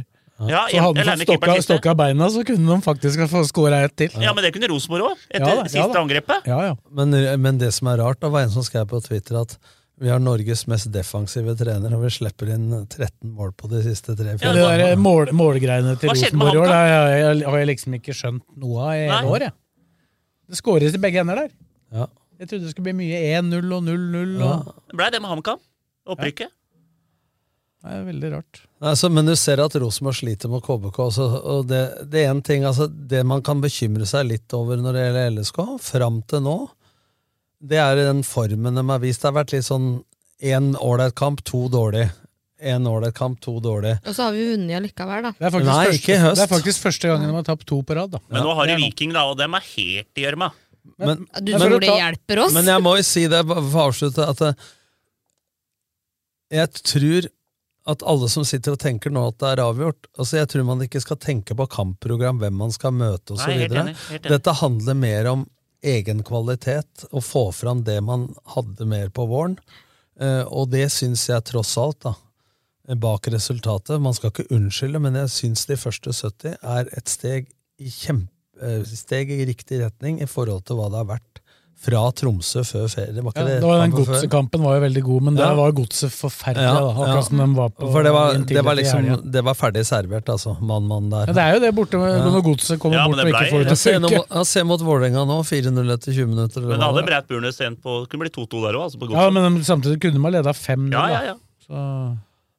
Ja, så hadde eller han er det fått stokka, keeperen siste? stokka beina, så kunne de faktisk ha fått skåra ett til. Ja, men det kunne Rosenborg òg, etter Ja da, ja siste da. angrepet. Ja, ja. Men, men det som er rart, da, var en som skrev på Twitter at vi har Norges mest defensive trener, og vi slipper inn 13 mål på de siste Det tre-fire. der mål, målgreiene til Hva skjedde med Rosenborg i han år da? det har jeg, har jeg liksom ikke skjønt noe av i hele Nei. år. Jeg. Det skåres i begge ender der. Ja. Jeg trodde det skulle bli mye 1-0 og 0-0. Ja. og- Det Blei det med HamKam. Opprykket. Det er veldig rart. Altså, men du ser at Rosenborg sliter mot KBK også. altså, og Det, det er en ting, altså, det man kan bekymre seg litt over når det gjelder LSK, fram til nå, det er den formen de har vist. Det har vært litt sånn én ålreit kamp, to dårlig. Én ålreit kamp, to dårlig. Og så har vi vunnet allikevel, da. Det er faktisk, Nei, ikke i første, høst. det er faktisk første gangen de har tapt to på rad. Da. Men nå har det de er nå. Viking, da, og dem er helt i gjørma. Men, Du men- tror det hjelper oss? Men jeg må jo si det bare for å avslutte, at eh, jeg tror at alle som sitter og tenker nå at det er avgjort altså Jeg tror man ikke skal tenke på kampprogram, hvem man skal møte Nei, osv. helt enig, helt enig. Dette handler mer om egen kvalitet, å få fram det man hadde mer på våren. Eh, Og det syns jeg tross alt, da, bak resultatet Man skal ikke unnskylde, men jeg syns de første 70 er et steg i, kjempe, eh, steg i riktig retning i forhold til hva det har vært fra Tromsø før ferie. Det var Ja, ikke det det var den kampen før? Godsekampen var jo veldig god, men Ja. der var jo Godset forferdelig. Ja, da, akkurat ja. som de var på For det var, en tidlig det var til liksom helgen. Det var ferdig servert, altså. Mann-mann der. Ja, det er jo det borte når Godset kommer bort og ikke får det Jeg ser til å nå- funke. jeg ser mot Vålerenga nå, 4-0 etter 20 minutter. eller Men det hva hadde det Breit Burnes sendt på Det kunne bli 2-2 der òg, altså. På Ja, godset. men de- samtidig kunne man leda 5-0. Ja, ja, da. ja. Så-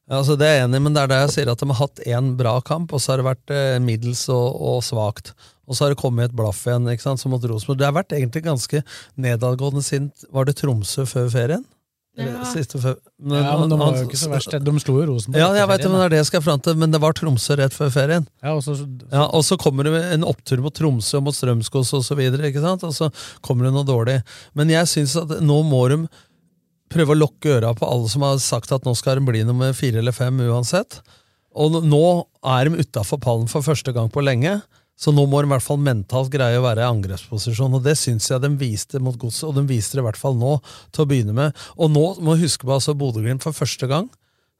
Ja, altså Det er jeg enig i, men det er der jeg sier at de har hatt én bra kamp, og så har det vært eh, middels og, og svakt. Og så har det kommet et blaff igjen, ikke sant, som mot Rosenborg. Det har vært egentlig ganske nedadgående siden Var det Tromsø før ferien? Eller Ja. siste før, ja, men de var jo ikke så verst. De slo jo Rosenborg. Ja, jeg etter vet det, ferien, men det da. er det jeg skal fram til. Men det var Tromsø rett før ferien. Ja, og så, Ja, og så kommer det en opptur mot Tromsø og mot Strømskos og så videre, ikke sant? Og så kommer det noe dårlig. Men jeg synes at nå må de prøve å lukke øra på alle som har sagt at nå skal de bli nummer fire eller fem uansett. Og n- nå er de utafor pallen for første gang på lenge. Så nå må de i hvert fall mentalt greie å være i angrepsposisjon, og det syns jeg de viste mot godset, og de viste det i hvert fall nå, til å begynne med. Og nå må vi huske på altså Bodø-Glimt for første gang.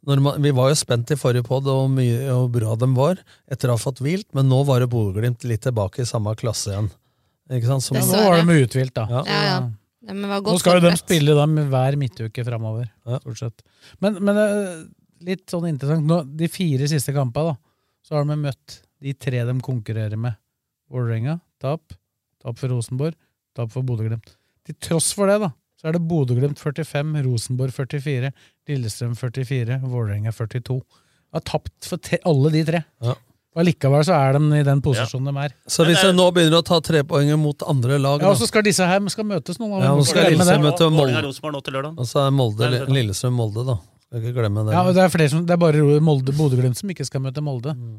Når man, vi var jo spent i forrige podd og hvor mye og bra de var etter å ha fått hvilt, men nå var det Bodø-Glimt litt tilbake i samme klasse igjen. Ikke sant? Som- Ja, nå var de uthvilt, da. Ja, ja. Nei, men det var Nå godt skal jo de forberedt. spille da med hver midtuke framover, stort sett. Men, men eh, litt sånn interessant nå, De fire siste kampene, da, så har de møtt de tre de konkurrerer med. Vålerenga, tap. Tap for Rosenborg, tap for Bodø-Glimt. Til tross for det, da, så er det Bodø-Glimt 45, Rosenborg 44, Lillestrøm 44, Vålerenga 42. De har tapt for te alle de tre. Ja. Og Allikevel så er de i den posisjonen de er. Så hvis de nå begynner å ta trepoenger mot andre lag Ja, og så da. skal disse her skal møtes noen av Ja, og så skal Lillestrøm møte Molde. Rosenborg nå til lørdag. Og så er Molde, Nei, det er sant. Lillestrøm-Molde, da. Skal ikke glemme det. Ja, og det er, flere som, det er bare Ro- Molde- Bodø-Glimt som ikke skal møte Molde. Mm.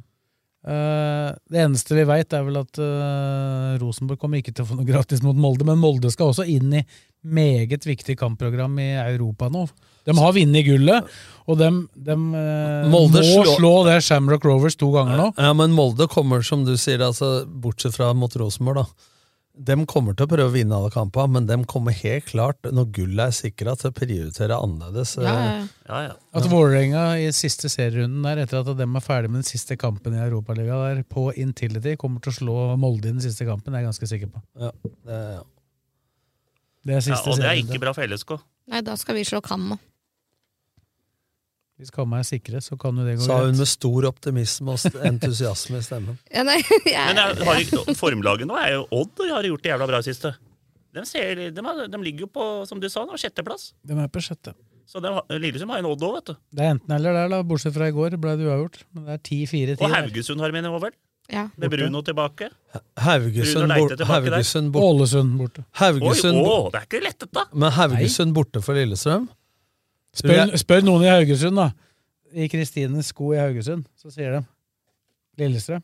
Eh, det eneste vi veit, er vel at eh, Rosenborg kommer ikke til å få noe gratis mot Molde, men Molde skal også inn i meget viktig kampprogram i Europa nå. De har vunnet gullet, og de, Molde må slå- slå det Shamrock Rovers to ganger nå. Ja, men Molde kommer, som du sier, altså, bortsett fra mot Rosenborg, da. De kommer til å prøve å vinne alle kampene, men de kommer helt klart, når gullet er sikra, til å prioritere annerledes. eh, At Vålerenga i siste serierunden der, etter at de er ferdig med den siste kampen i Europaligaen, der, på Intility kommer til å slå Molde i den siste kampen, det er jeg ganske sikker på. Ja, det, ja. Det er Ja, siste og det er serierunde. ikke bra for LSK. Nei, da skal vi slå Kamma. Hvis kamma er sikre, så kan jo det gå Sa hun greit. med stor optimisme og st- entusiasme i stemmen. Ja, nei, Men jeg, jeg har, ikke- formlaget nå er jo Odd, og de har gjort det jævla bra i siste. De, ser, de, har, de ligger jo på, som du sa, nå, sjetteplass. De er på sjette. Så de, har- Lillestrøm har en Odd òg, vet du. Det er enten eller der, da. Bortsett fra i går, ble det uavgjort. Men det er 10-4-10. Og der. Haugesund har med nivå, vel? Ja. Med Bruno tilbake. Haugesund, Bruno Leite bort, tilbake der. Haugesund, bort, Ålesund borte. Haugesund, Oi, bort- å, det er ikke lett, dette! men Haugesund borte for Lillestrøm? Tror Spør, jeg- spør noen i Haugesund, da. I Kristines sko i Haugesund, så sier de Lillestrøm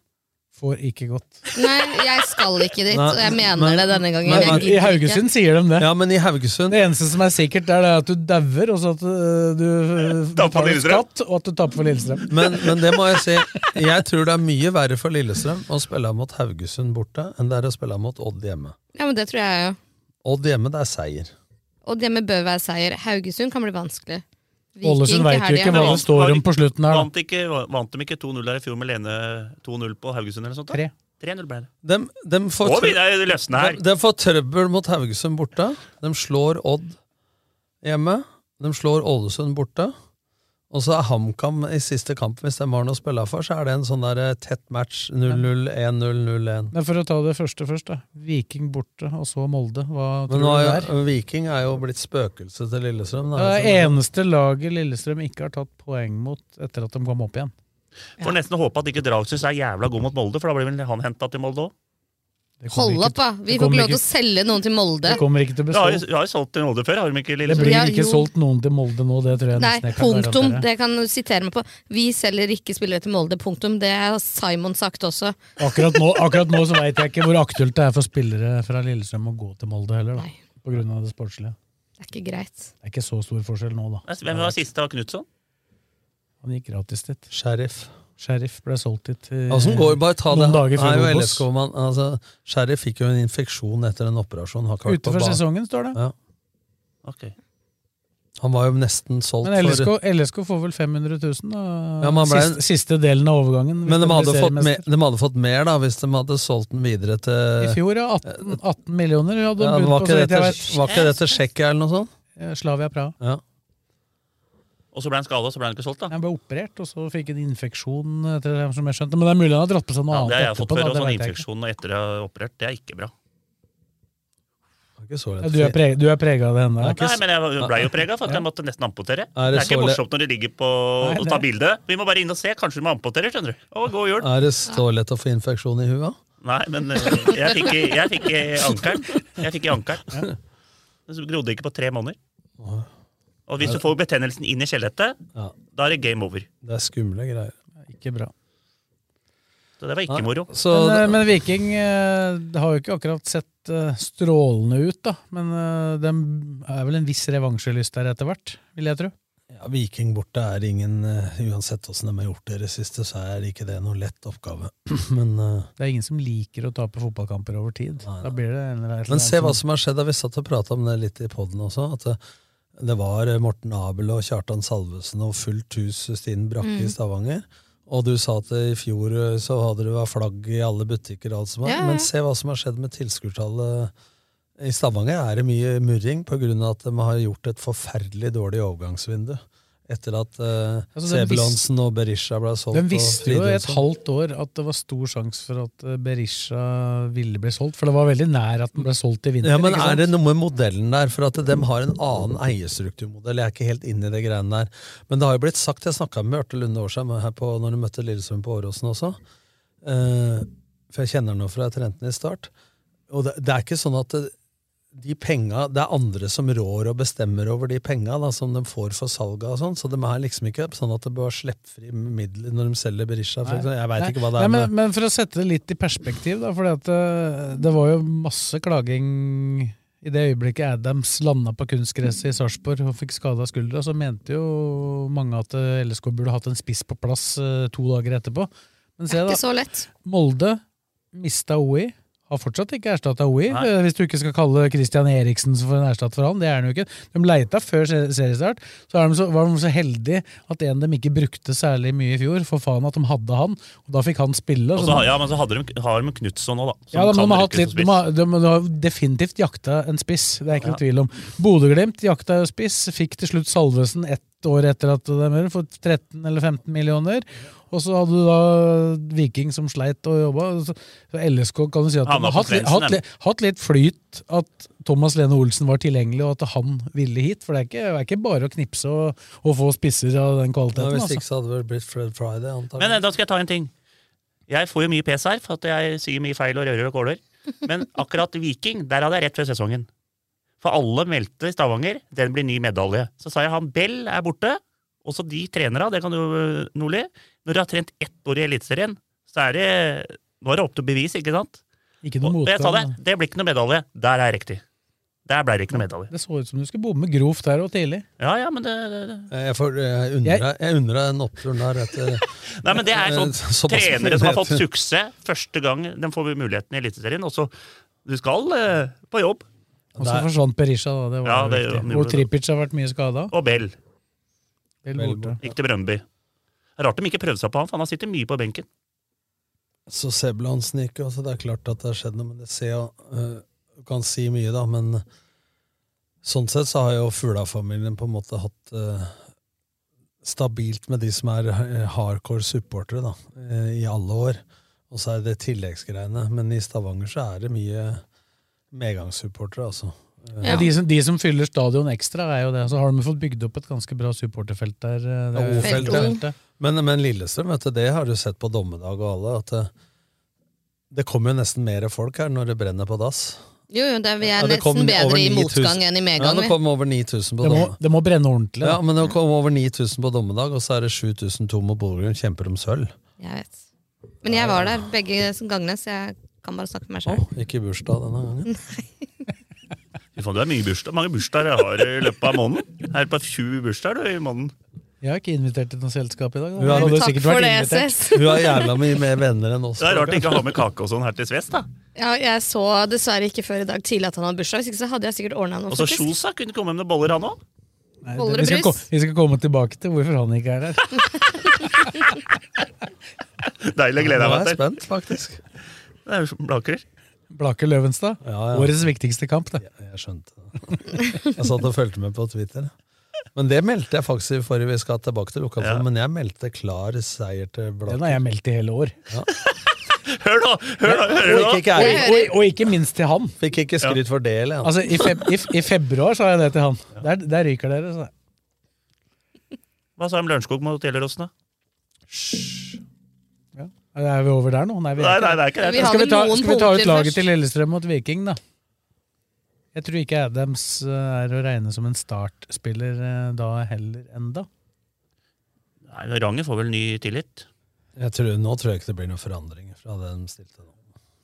får ikke godt. nei, jeg skal ikke dit, Nei, og jeg mener men- det denne gangen. Nei, Jeg men- gidder I Haugesund ikke. sier de det. Ja, men i Haugesund Det eneste som er sikkert, det er det at du dauer, og så at øh, du øh, Taper for betaler Lillestrøm. skatt, og at du taper for Lillestrøm. Men, men det må jeg si, jeg tror det er mye verre for Lillestrøm å spille mot Haugesund borte enn det er å spille mot Odd hjemme. Ja, men det tror jeg jo. Odd hjemme, det er seier. Og det med bør være seier. Haugesund kan bli vanskelig. Viking Ålesund til vet jo helgen. ikke hva det står om på slutten her, da. Vant, ikke, vant de ikke 2-0 der i fjor med Lene 2-0 på Haugesund eller noe sånt? da? Tre. 3-0 ble det. De, de, får Nå trø- begynner det å løsne her. de, de får trøbbel mot Haugesund borte. De slår Odd hjemme. De slår Ålesund borte. Og så er HamKam i siste kamp, hvis de har noe å spille for, så er det en sånn der eh, tett match 0-0, 1-0, 0-1. Men for å ta det første først, da. Viking borte, og så Molde. Hva Men tror nå du det er, er? jo- Viking er jo blitt spøkelset til Lillestrøm. Det da. er det Eh, eneste laget Lillestrøm ikke har tatt poeng mot etter at de kom opp igjen. Får nesten håpe at ikke Dragsnes er jævla god mot Molde, for da blir vel han henta til Molde òg. Det kommer Hold ikke- opp, da! Vi det får ikke lov kommer til å selge noen til Molde. Det kommer ikke til å Vi bestå. har jo vi har jo solgt til Molde før, har de ikke? Det Lillestrøm? blir Ja, ikke jo. solgt noen til Molde nå, det tror jeg Nei, nesten jeg kan punktum. garantere. Det kan du sitere meg på. Vi selger ikke spillere til Molde, punktum. Det har Simon sagt også. Akkurat nå, akkurat nå så veit jeg ikke hvor aktuelt det er for spillere fra Lillestrøm å gå til Molde heller, da. På grunn av det sportslige. Det er ikke greit. Det er ikke så stor forskjell nå, da. Hvem var siste av Knutson? Han gikk gratis dit. Sheriff. Sheriff ble solgt dit eh, Altså, går, bare ta det. noen dager Nei, før jo, Obos. LSK, man, altså, Sheriff fikk jo en infeksjon etter en operasjon. Har ikke vært på Utenfor banen. sesongen, står det. Ja. Ok. Han var jo nesten solgt Men LSK, for LSK får vel 500 000, da? Ja, men han ble- siste, siste delen av overgangen. hvis Men de blir hadde, fått seriemester. mer, de hadde fått mer da, hvis de hadde solgt den videre til I fjor, ja. 18, 18 millioner hadde Eh, Ja, de budt var, på, ikke så det vidt til, jeg vet. var ikke det til Tsjekkia eller noe sånt? Eh, Slavia Praha. Ja. Og så ble han skada, så ble han ikke solgt, da. Han ble operert, og så fikk han infeksjon, etter det som jeg skjønte. Men det er mulig han har dratt på seg noe Ja, annet det har jeg fått da, før. Og det sånn vet jeg ikke. infeksjon og etter jeg har operert, det er ikke bra. Ikke så Ja, du er preg- du er prega av det ennå? Nei, men jeg blei jo prega for at jeg måtte nesten amputere. Er Det det er ikke så le- morsomt når de ligger på Nei, og tar det- bilde. Vi må bare inn og se. Kanskje du må amputere, skjønner du. Å, god jul. Er det så lett å få infeksjon i huet? Nei, men eh, jeg fikk, i- jeg fikk i ankelen. Jeg fikk i ankelen. Det grodde ikke på tre måneder. Og hvis du får betennelsen inn i skjelettet, Ja. da er det game over. Det er skumle greier. Ikke bra. Så det var Nei, ikke moro. men, eh, men Viking eh, det har jo ikke akkurat sett eh, strålende ut, da. Men eh, de er vel en viss revansjelyst der etter hvert, vil jeg tro. Ja, Viking borte er ingen eh, Uansett åssen de har gjort det i det siste, så er ikke det noen lett oppgave. Men, eh, Det er ingen som liker å tape fotballkamper over tid. Da blir det en eller annen men se hva som har skjedd. da Vi satt og prata om det litt i poden også. At det, det var eh, Morten Abel og Kjartan Salvesen og fullt hus Stine Brakke Mm. i Stavanger. Og du sa at i fjor eh, så hadde det vært flagg i alle butikker og alt som var. Ja, ja. Men se hva som har skjedd med tilskuertallet. I Stavanger er det mye murring pga. at de har gjort et forferdelig dårlig overgangsvindu. Etter at uh, Altså, de Sebulonsen og Berisha ble solgt. De og visste jo et Fridtjonsson. halvt år at det var stor sjanse for at eh, Berisha ville bli solgt, for det var veldig nær at den ble solgt i vinter. Ja, men ikke sant? Er det noe med modellen der? For at de har en annen eierstrukturmodell. Jeg er ikke helt inne i det greiene der. Men det har jo blitt sagt, jeg snakka med Ørte Lunde Årsheim her på, når du møtte Lillesund på Åråsen også. Eh, for jeg kjenner henne fra jeg trente henne i start. Og det, det er ikke sånn at det, de penga, det er andre som rår og bestemmer over de penga da, som de får for salget og sånn, så de er liksom ikke sånn at det bør sleppfri midler når de selger Berisha. For Nei. eksempel. jeg veit Nei, ikke hva det er nei, med men, men for å sette det litt i perspektiv, da, for det, det var jo masse klaging i det øyeblikket Adams landa på kunstgresset i Sarpsborg og fikk skada skuldra, så mente jo mange at eh, LSK burde hatt en spiss på plass eh, to dager etterpå. Men se, Det er da. ikke så lett. Molde mista OI. Har fortsatt ikke erstatta OI, Nei. eh, hvis du ikke skal kalle Christian Eriksen for en erstatter for han. Det er han jo ikke. De leita før se- seriestart. Så er de så, var de så heldige at en de ikke brukte særlig mye i fjor, for faen at de hadde han, og da fikk han spille. Og så så, de- har- ja, men så hadde de, har de Knutson nå, da. som sånn- ja, da, kan men de, har brukes hatt litt, som de, spiss. har, de, de har definitivt jakta en spiss, det er ikke noe tvil om. Bodø-Glimt jakta jo spiss, fikk til slutt Salvesen ett år etter at de gjorde, for 13 eller 15 millioner. Og så hadde du da Viking som sleit og jobba. Så så LSK kan du si at de Han var har på hatt, litt- grensen, hatt, den. litt- hatt litt flyt at Thomas Lene Olsen var tilgjengelig, og at han ville hit. For det er ikke, det er ikke bare å knipse og, og få spisser av den Ja, kvaliteten. hvis altså. ikke så hadde det vel blitt Fred Friday, antagelig. Men eh, da skal jeg ta en ting. Jeg får jo mye pes her for at jeg sier mye feil og rører og kåler. Men akkurat Viking, der hadde jeg rett før sesongen. For alle meldte i Stavanger. Den blir ny medalje. Så sa jeg han Bell er borte. Også de trenere, det kan du, eh, Nordli. Når du har trent ett år i Eliteserien, så er det Nå er det opp til bevis, ikke sant? Ikke og, noe og jeg sa det. motgang, Det blir ikke noe medalje. Der er jeg riktig. Der ble det ikke noe medalje. Det så ut som du skulle bomme grovt der og tidlig. Ja, ja, men det, det, det. Eh, Jeg, får, jeg, undrer, jeg, undrer den oppturen der etter Nei, men det er sånn Såpass trenere som har fått muligheter. suksess første gang de får muligheten i Eliteserien. Og så du skal eh, på jobb. Og så forsvant Berisha, da. Det var Ja, jo det gjorde viktig. han. Hvor Tripic har vært mye skada. Og Bell. Bell borte. Gikk til Brøndby. Det er Rart de ikke prøvde seg på han, for han har sittet mye på benken. Så Sebulonsen gikk jo, så altså, det er klart at det har skjedd noe. Men det ser jo eh, Du kan si mye, da, men eh, sånn sett så har jo Fugla-familien på en måte hatt eh, stabilt med de som er eh, hardcore supportere, da, eh, i alle år. Og så er det tilleggsgreiene. Men i Stavanger så er det mye eh, medgangssupportere, altså. Eh, Ja. De, som, de som fyller stadion ekstra, er jo det. Så har de fått bygd opp et ganske bra supporterfelt der. eh, Ja, det er- Ofeldt, Ofeldt, ja. Men, men Lillestrøm, vet du, det har du sett på dommedag og alle, at det, det kommer jo nesten mer folk her når det brenner på dass. Jo, jo, det, vi Ja, er det kom nesten bedre over i 9000. motgang enn i Ja, medgang. det vi. kom over 9000 på Det må- dommedag. det må brenne ordentlig, da. Ja, men det kom over 9000 på dommedag, og så er det 7000 tomme borgergrunn kjemper om sølv. Jeg vet. Men jeg var der begge gangene, så jeg kan bare snakke med meg sjøl. Ikke i bursdag denne gangen. Fy faen, du har mye bursdag. mange bursdager jeg har i løpet av måneden. Her på 20 bursdager du, i måneden. Jeg har ikke invitert til noe selskap i dag. da. Hun har- Hadde Takk sikkert for vært det, invitert. SS. Hun har jævla mye mer venner enn oss. Det er rart ikke å ha med kake og sånn her til Sves, da. Ja, jeg så dessverre ikke før i dag tidlig at han har bursdag, hvis ikke så hadde jeg sikkert ordna noe. Og så faktisk. Kjosa kunne komme med noen boller, han òg. Nei, det- Boller og vi skal brus. ko- Vi skal komme tilbake til hvorfor han ikke er her. Deilig, gleder jeg meg til. Nå er jeg spent, faktisk. Det er jo Blaker. Blaker Løvenstad. Ja, ja. Årets viktigste kamp, det. Jeg skjønte det. Jeg satt og fulgte med på Twitter. Men det meldte jeg faktisk i forrige vi skal tilbake til lokalfond, men jeg meldte klar seier til Blaker. Den har jeg meldt i hele år. Hør nå! Hør nå! Hører du Og nå? ikke, ikke Og, jeg. og, og ikke minst til han. Fikk ikke skryt for det, eller? Altså, i, feb i, f- I februar sa jeg det til han. Der, der ryker dere. sa jeg. Hva sa de om Lørenskog mot Gjelleråsen, da? Er vi over der nå? Nei, vi Nei, er ikke nei, det er ikke det. Vi har skal, vi vel ta, noen skal vi ta ut punkter laget først. til Lillestrøm mot Viking, da? Jeg tror ikke Adams eh, er å regne som en startspiller eh, da heller enda. Nei, Rangen får vel ny tillit. Jeg tror, nå tror jeg ikke det blir noen forandring fra det de stilte nå.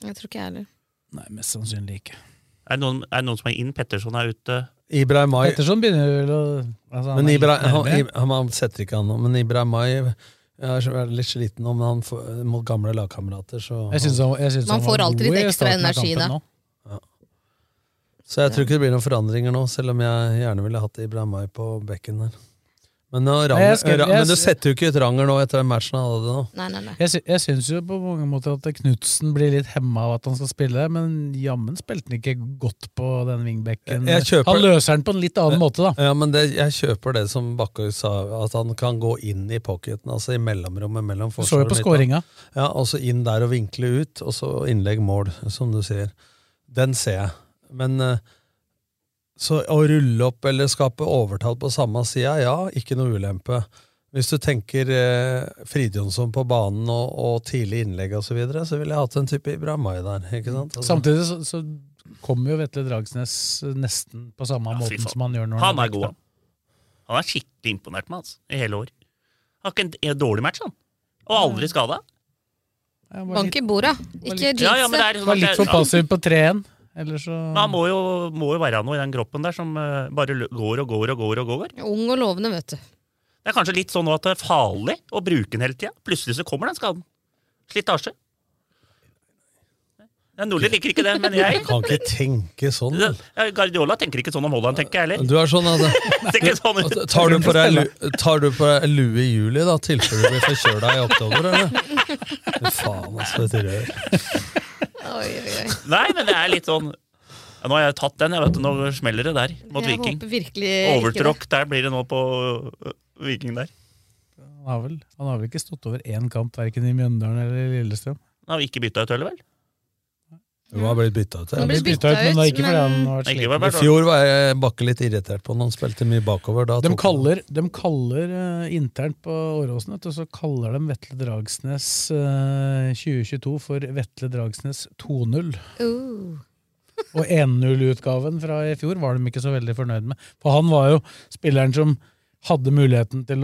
Jeg tror ikke jeg heller. Nei, mest sannsynlig ikke. Er det noen, er det noen som er inn? Petterson er ute. Ibrahim Mai Petterson begynner vel å altså, han Men er litt Ibra, han, nærmere. Ibra- han, han setter ikke han nå, men Ibrahim Mai jeg er så- jeg er litt sliten nå, men han får, mot gamle lagkamerater, så Jeg synes han, jeg synes Man han var får alltid god i litt ekstra starten av energi kampen da. nå. Så jeg tror ikke det blir noen forandringer nå, selv om jeg gjerne ville hatt Ibrahim Mai på bekken der. Men, nå, Nei, Ranger, jeg skal- Ra- jeg men du s- setter jo ikke ut Ranger nå etter den matchen han hadde nå. Nei, nei, nei. Jeg, sy jeg syns jo på mange måter at Knutsen blir litt hemma av at han skal spille, men jammen spilte han ikke godt på den wingbacken. Jeg kjøper- Han løser den på en litt annen måte, da. Ja, men det, Jeg kjøper det som Bakkøy sa, at han kan gå inn i pocketen, altså i mellomrommet mellom Du så forsvar jo på midtbane. skåringa. Ja, og så inn der og vinkle ut, og så innlegg mål, som du sier. Den ser jeg. Men eh, så å rulle opp eller skape overtall på samme sida, ja, ikke noe ulempe. Hvis du tenker eh, Fridjonsson på banen og, og tidlig innlegg osv., så, videre, så ville jeg hatt en type Ibrahimai der. ikke sant? Altså, Mm. Samtidig så, så kommer jo Vetle Dragsnes nesten på samme Ja, fy måten faen. som han gjør når Han er vekk, god, da. han. Han er skikkelig imponert meg, altså. I hele år. Har ikke en, en dårlig match, han. Og aldri skada. Ja, han var Bank litt, i borda, ikke jinx Ja, ja, men det det. er var litt for ja, passiv på 3-1. Eller så men han må jo, må jo være noe i den kroppen der som eh, bare lø- går og går og går og går. Ung og lovende, vet du. Det er kanskje litt sånn nå at det er farlig å bruke den hele tida. Plutselig så kommer den skaden. Slitasje. Ja, Nordli liker ikke det, men jeg Kan ikke tenke sånn. vel? Ja, Guardiola tenker ikke sånn om Haaland, tenker jeg heller. Du er sånn, altså. Tenker sånn ut. At- Tar du på deg lu- tar du på deg lue i juli, da, tilfelle du blir forkjøla i oktober, eller? Fy faen, altså, for et rør. Oi, oi, oi. Nei, men det er litt sånn ja, Nå har jeg tatt den, jeg vet, du, nå smeller det der mot jeg Viking. håper virkelig ikke det. Overtråkk, der blir det nå på øh, Viking der. han, har vel, han har vel ikke stått over én kamp, verken i Mjøndalen eller i Lillestrøm. Nå har vi ikke bytta ut heller, vel? Hun har blitt bytta ut. Nå Ja. blir det Bytta ut, men det er ikke fordi han men- har vært Ikke sliten. bare I Bertrand. fjor var jeg bakke litt irritert på når han spilte mye bakover. Da De tok han- kaller, de kaller eh, internt på Åråsen, vet du, så kaller de Vetle Dragsnes eh, 2022 for Vetle Dragsnes 2.0. Uh, Og 1-0-utgaven fra i fjor var de ikke så veldig fornøyd med. For han var jo spilleren som hadde muligheten til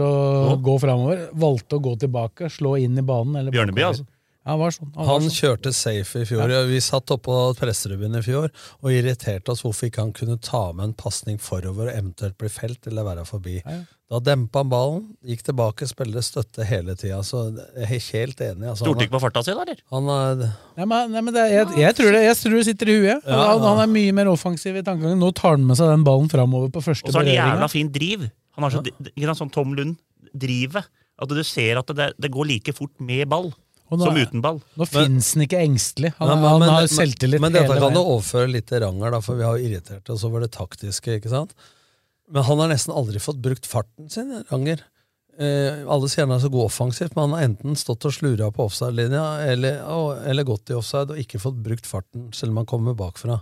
Å. å gå framover. Valgte å gå tilbake, slå inn i banen. Eller Bjørneby, bakover. altså. Ja, han var sånn. Han, Han var sånn. kjørte safe i fjor. Ja. Vi satt oppå presserubben i fjor og irriterte oss hvorfor ikke han kunne ta med en pasning forover og eventuelt bli felt eller være forbi. Ja, ja. Da dempa han ballen, gikk tilbake, spilte støtte hele tida. Så jeg er helt enig. Altså, Stolte han, ikke på farta si, da, eller? han er, Nei, men, nei, men det, er- jeg, jeg, tror det, jeg tror det sitter i huet. Ja, han, ja. han er mye mer offensiv i tankegangen. Nå tar han med seg den ballen framover på første Og så har han berøringa. jævla fin driv. Han har så, ikke sant, sånn Tom Lund-drivet. At du ser at det, det går like fort med ball Og nå- som uten ball. Nå finnes han ikke engstelig. Han, Nei, men- han men- har men- selvtillit Men dette hele kan du veien. overføre litt til Ranger, da, for vi har jo irritert oss over det taktiske. ikke sant? Men han har nesten aldri fått brukt farten sin, Ranger. Eh, alle sier han er så god offensivt, men han har enten stått og slura på offside-linja eller, og- eller gått i offside og ikke fått brukt farten, selv om han kommer bakfra.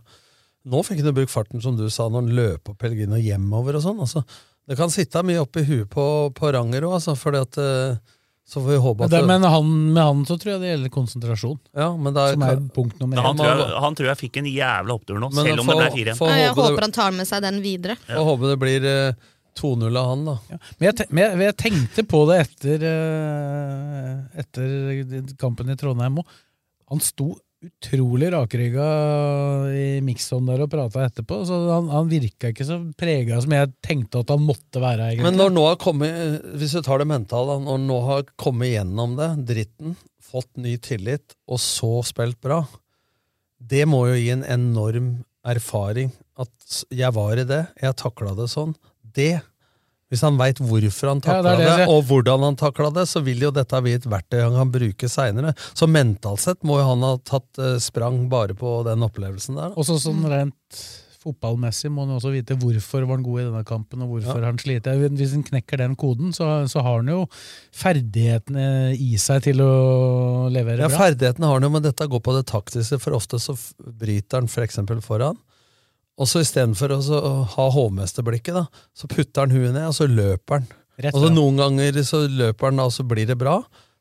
Nå fikk han jo brukt farten, som du sa, når han løp opp Pellegrino hjemover og sånn. altså. Det kan sitte mye oppi huet på, på Ranger òg, altså, fordi at eh, Så får vi håpe Men at det, men han, med han så tror jeg det gjelder konsentrasjon, ja, men da, som er punkt nummer Men én. han, tror jeg, han tror jeg fikk en jævla opptur nå, Men selv om det få- ble fire igjen. få ja, jeg håpe det- håper han tar med seg den videre. Får håpe det blir eh, 2-0 av han, da. Ja. Men, jeg, te- men jeg, men jeg tenkte på det etter, eh, etter kampen i Trondheim òg. Han sto utrolig rakrygga i mikson der og prata etterpå, så han, han virka ikke så prega som jeg tenkte at han måtte være. Men egentlig. når nå har kommet, eh, hvis du tar det mentale, da, når nå har kommet gjennom det, dritten, fått ny tillit, og så spilt bra, det må jo gi en enorm erfaring. At s- jeg var i det, jeg takla det sånn. Det Hvis han veit hvorfor han Ja, det takla er det, det jeg sier. og hvordan han takla det, så vil jo dette bli et verktøy han kan bruke seinere. Så mentalt sett må jo han ha tatt eh, sprang bare på den opplevelsen der. da. Også sånn rent fotballmessig må han jo også vite hvorfor var han god i denne kampen, og hvorfor Ja. han sliter. Hvis han knekker den koden, så, så har han jo ferdighetene i seg til å levere Ja, bra. ferdighetene har han jo, men dette går på det taktiske, for ofte så f- bryter han for eksempel foran. Og så istedenfor å så ha hovmesterblikket, da, så putter han huet ned, og så løper han. Rett og så altså, fram. Noen ganger så løper han, da, og så blir det bra.